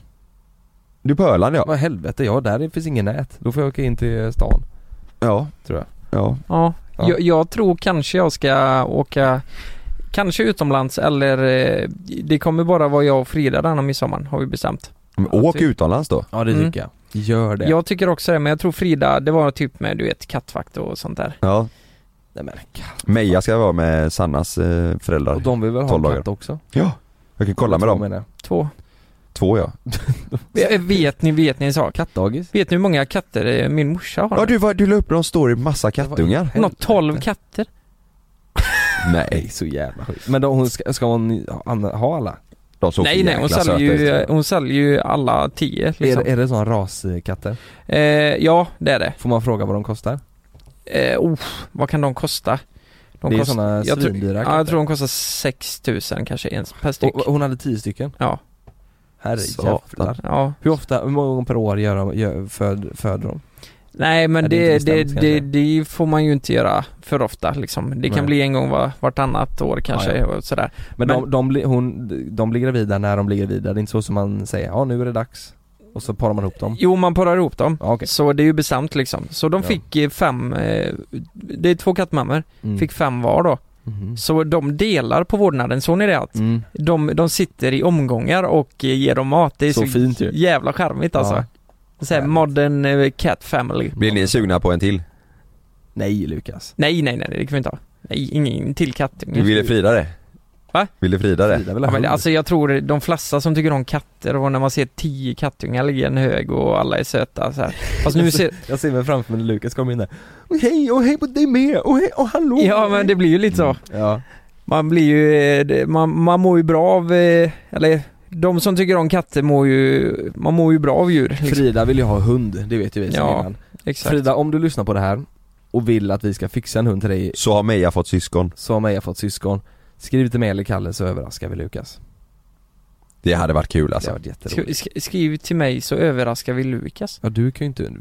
Speaker 5: du är på Öland ja.
Speaker 3: Vad helvete, ja där finns ingen nät. Då får jag åka in till stan,
Speaker 5: Ja,
Speaker 3: tror jag.
Speaker 5: ja.
Speaker 4: Ja,
Speaker 3: Ja.
Speaker 4: Jag, jag tror kanske jag ska åka Kanske utomlands eller eh, det kommer bara vara jag och Frida denna midsommar har vi bestämt.
Speaker 5: Men åk
Speaker 4: typ.
Speaker 5: utomlands då.
Speaker 3: Ja det
Speaker 4: Mm.
Speaker 3: tycker jag. Gör det.
Speaker 4: Jag tycker också det men jag tror Frida, det var typ med du vet kattvakt och sånt där.
Speaker 5: Ja.
Speaker 3: Nej, men, katt.
Speaker 5: Meja ska vara med Sannas eh,
Speaker 3: och
Speaker 5: föräldrar.
Speaker 3: de vill väl ha
Speaker 5: 12
Speaker 3: en
Speaker 5: dagar.
Speaker 3: katt också?
Speaker 5: Ja. Jag kan kolla
Speaker 3: Två
Speaker 5: med dem.
Speaker 3: menar jag.
Speaker 4: Två.
Speaker 5: Två ja.
Speaker 4: Eh, Vet ni, vet ni en sak?
Speaker 3: Kattdagis?
Speaker 4: Vet ni hur många katter eh, min morsa har?
Speaker 5: Ja du, var, du la upp någon story med massa kattungar.
Speaker 4: Hon har 12 katter.
Speaker 3: Nej, så jävla sjukt. Men då, hon ska, ska hon ha- ha alla?
Speaker 5: De såg
Speaker 4: Nej nej, hon säljer, ju, hon säljer ju alla 10 liksom.
Speaker 3: Är, är det sån raskatter?
Speaker 4: Eh, ja, det är det.
Speaker 3: Får man fråga vad de kostar?
Speaker 4: Eh, oh, vad kan de kosta? De
Speaker 3: det är
Speaker 4: kost-
Speaker 3: såna
Speaker 4: jag tror-
Speaker 3: svindyra
Speaker 4: Ja, jag tror de kostar 6000 kanske en per styck.
Speaker 3: och, och hon hade tio stycken?
Speaker 4: Ja.
Speaker 3: Herrejävlar.
Speaker 4: Ja.
Speaker 3: Hur ofta, hur många gånger per år gör de, gör, föd, föder de?
Speaker 4: Nej men
Speaker 3: Ja, det är
Speaker 4: det,
Speaker 3: inte
Speaker 4: det,
Speaker 3: bestämt,
Speaker 4: det,
Speaker 3: kanske.
Speaker 4: det får man ju inte göra för ofta liksom. Det kan
Speaker 3: Nej.
Speaker 4: bli en gång var, vartannat år kanske
Speaker 3: Ja, ja.
Speaker 4: och sådär.
Speaker 3: Men,
Speaker 4: Men-
Speaker 3: De, de, blir- hon, de blir gravida när de blir gravida, det är inte så som man säger ja nu är det dags och så parar man ihop dem?
Speaker 4: Jo man parar ihop dem.
Speaker 3: Ja, okej.
Speaker 4: Så det är ju bestämt liksom. Så de
Speaker 3: Ja.
Speaker 4: fick eh, fem, eh, det är två kattmammor,
Speaker 3: Mm.
Speaker 4: fick fem var då.
Speaker 3: Mhm.
Speaker 4: Så de delar på vårdnaden, såg ni det? Att
Speaker 3: Mm.
Speaker 4: de, de sitter i omgångar och eh, ger dem mat. Det är
Speaker 3: Så
Speaker 4: så,
Speaker 3: fint ju.
Speaker 4: jävla charmigt alltså. Så här,
Speaker 3: Härligt.
Speaker 4: modern eh, cat family.
Speaker 5: Blir ni sugna på en till?
Speaker 3: Nej Lukas.
Speaker 4: Nej, nej, nej, det kan vi inte ha. Nej, ingen till kattunge.
Speaker 5: Ville Frida det?
Speaker 4: Va?
Speaker 5: Ville Frida det?
Speaker 3: Frida vill
Speaker 4: Ja,
Speaker 3: ha
Speaker 4: men
Speaker 3: hund.
Speaker 4: alltså jag tror de flesta som tycker om katter och när man ser tio kattungar ligga i en hög och alla är söta så här. Fast nu ser,
Speaker 3: Jag ser mig framför mig när Lukas kommer in där. Och hej och hej på dig med och hej och hallå!
Speaker 4: ja men det blir ju lite
Speaker 3: Mm.
Speaker 4: så.
Speaker 3: Ja.
Speaker 4: Man blir ju, eh, det- man, man mår ju bra av, eh, eller de som tycker om katter mår ju, man mår ju bra av djur. Liksom.
Speaker 3: Frida vill ju ha hund, det vet ju vi sedan
Speaker 4: Ja,
Speaker 3: innan.
Speaker 4: Exakt.
Speaker 3: Frida om du lyssnar på det här och vill att vi ska fixa en hund till dig
Speaker 5: Så har Meja fått syskon.
Speaker 3: så har Meja fått syskon. Skriv till mig eller Kalle så överraskar vi Lukas.
Speaker 5: Det hade varit kul
Speaker 3: Det
Speaker 5: alltså.
Speaker 3: har varit
Speaker 4: Sk-
Speaker 3: jätteroligt.
Speaker 4: sk- Skriv till mig så överraskar vi Lukas.
Speaker 3: Ja du kan ju inte,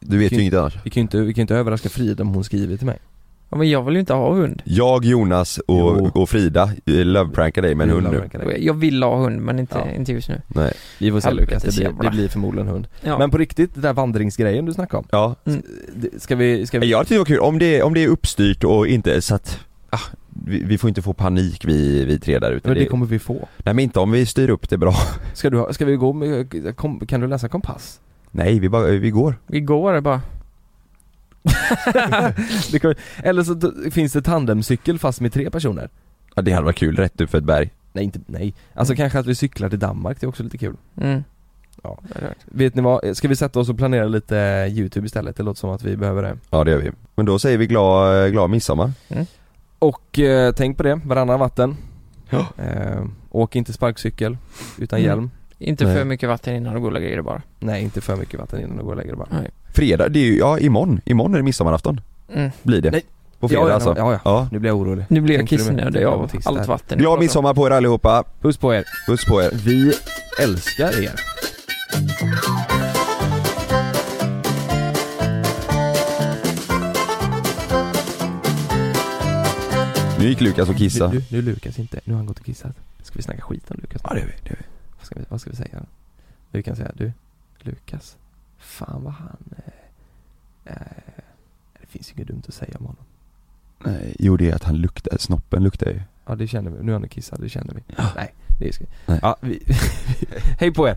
Speaker 5: Du vet ju inget annars.
Speaker 3: vi kan ju inte, vi kan ju inte överraska Frida om hon skriver till mig.
Speaker 4: Ja, men jag vill ju inte ha hund.
Speaker 5: Jag, Jonas
Speaker 3: Jo.
Speaker 5: och, och Frida eh, loveprankar dig med en
Speaker 3: Vi
Speaker 5: hund
Speaker 3: vill
Speaker 5: nu.
Speaker 3: överraska dig.
Speaker 4: Jag vill ha hund men inte,
Speaker 3: Ja.
Speaker 4: inte just nu.
Speaker 5: Nej.
Speaker 3: Vi får se
Speaker 4: Helvete,
Speaker 3: Lukas, det blir,
Speaker 4: jävlar.
Speaker 3: det blir förmodligen hund.
Speaker 4: Ja.
Speaker 3: Men på riktigt, den där vandringsgrejen du snackade om.
Speaker 5: Ja.
Speaker 3: det- Ska vi, ska vi?
Speaker 5: Jag tycker det var kul, om det, om det är uppstyrt och inte så att, ah, vi, vi får inte få panik vi, vi tre där ute.
Speaker 3: Men det
Speaker 5: Det-
Speaker 3: kommer vi få.
Speaker 5: Nej men inte om vi styr upp det bra.
Speaker 3: Ska du, ha- ska vi gå med, kom, kan du läsa kompass?
Speaker 5: Nej, vi, bara, vi går.
Speaker 4: Igår bara.
Speaker 3: Det kan, eller så t- finns det tandemcykel fast med tre personer.
Speaker 5: Ja, det hade varit kul, rätt upp för ett berg.
Speaker 3: Nej inte, nej. Alltså kanske att vi cyklar till Danmark, det är också lite kul.
Speaker 4: Mm.
Speaker 3: Ja. Vet ni vad, ska vi sätta oss och planera lite eh, YouTube istället? Det låter som att vi behöver det.
Speaker 5: Ja det gör vi. Men då säger vi glad, glad midsommar.
Speaker 3: Och eh, tänk på det, varannan vatten. Eh, åk inte sparkcykel utan
Speaker 4: Mm.
Speaker 3: hjälm.
Speaker 4: Inte
Speaker 5: Nej.
Speaker 4: för mycket vatten innan och goda grejer bara.
Speaker 3: Nej inte för mycket vatten innan du går och lägger dig bara.
Speaker 4: Nej.
Speaker 5: Fredag, det är ju, ja imorgon, imorgon är det midsommarafton.
Speaker 4: Mm.
Speaker 5: Blir det.
Speaker 3: Nej.
Speaker 5: På fredag
Speaker 3: ja, ja,
Speaker 5: alltså.
Speaker 3: Ja, ja.
Speaker 5: Ja.
Speaker 3: Nu blir jag orolig.
Speaker 4: Nu blir jag
Speaker 3: Tänkte du
Speaker 4: kissnödig
Speaker 3: med-
Speaker 4: av
Speaker 3: autist
Speaker 4: allt
Speaker 3: här?
Speaker 4: vatten.
Speaker 5: Glad midsommar på er allihopa.
Speaker 3: Puss på er.
Speaker 5: Puss på er.
Speaker 3: Vi älskar er.
Speaker 9: Nu gick Lukas och kissa.
Speaker 3: Nu, nu är Lukas inte, nu har han gått och kissat. Ska vi snacka skit om Lukas? Ja det gör vi, det gör vi. Vad ska vi, vad ska vi säga? Vi kan säga, du Lukas, fan vad han, eh, eh, det finns ju inget dumt att säga om honom.
Speaker 9: Nej, jo det är att han luktar, snoppen luktar ju.
Speaker 3: Ja det känner vi, nu har han kissat, det känner vi. Nej, det är skit. Ja, vi, hej på er!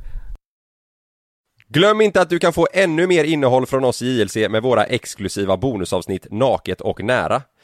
Speaker 5: Glöm inte att du kan få ännu mer innehåll från oss i JLC med våra exklusiva bonusavsnitt Naket och nära.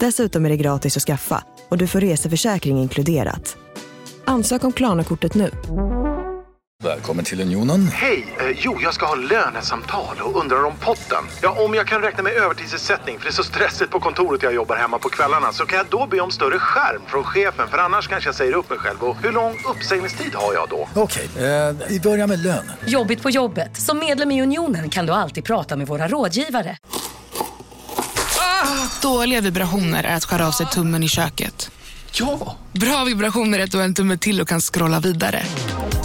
Speaker 1: Dessutom är det gratis att skaffa och du får reseförsäkring inkluderat. Ansök om Klarna-kortet nu.
Speaker 10: Välkommen till Unionen.
Speaker 7: Hej! Eh, jo, jag ska ha lönesamtal och undrar om potten. Ja, om jag kan räkna med övertidsersättning för det är så stressigt på kontoret jag jobbar hemma på kvällarna så kan jag då be om större skärm från chefen för annars kanske jag säger upp mig själv. Och hur lång uppsägningstid har jag då?
Speaker 10: Okej, eh, vi börjar med lön.
Speaker 11: Jobbigt på jobbet. Som medlem i Unionen kan du alltid prata med våra rådgivare.
Speaker 12: Dåliga vibrationer är att skära av sig tummen i köket.
Speaker 10: Ja!
Speaker 12: Bra vibrationer är att du har en tumme till och kan scrolla vidare.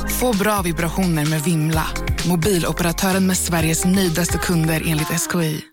Speaker 12: Få bra vibrationer med Vimla. Mobiloperatören med Sveriges nöjdaste kunder enligt SKI.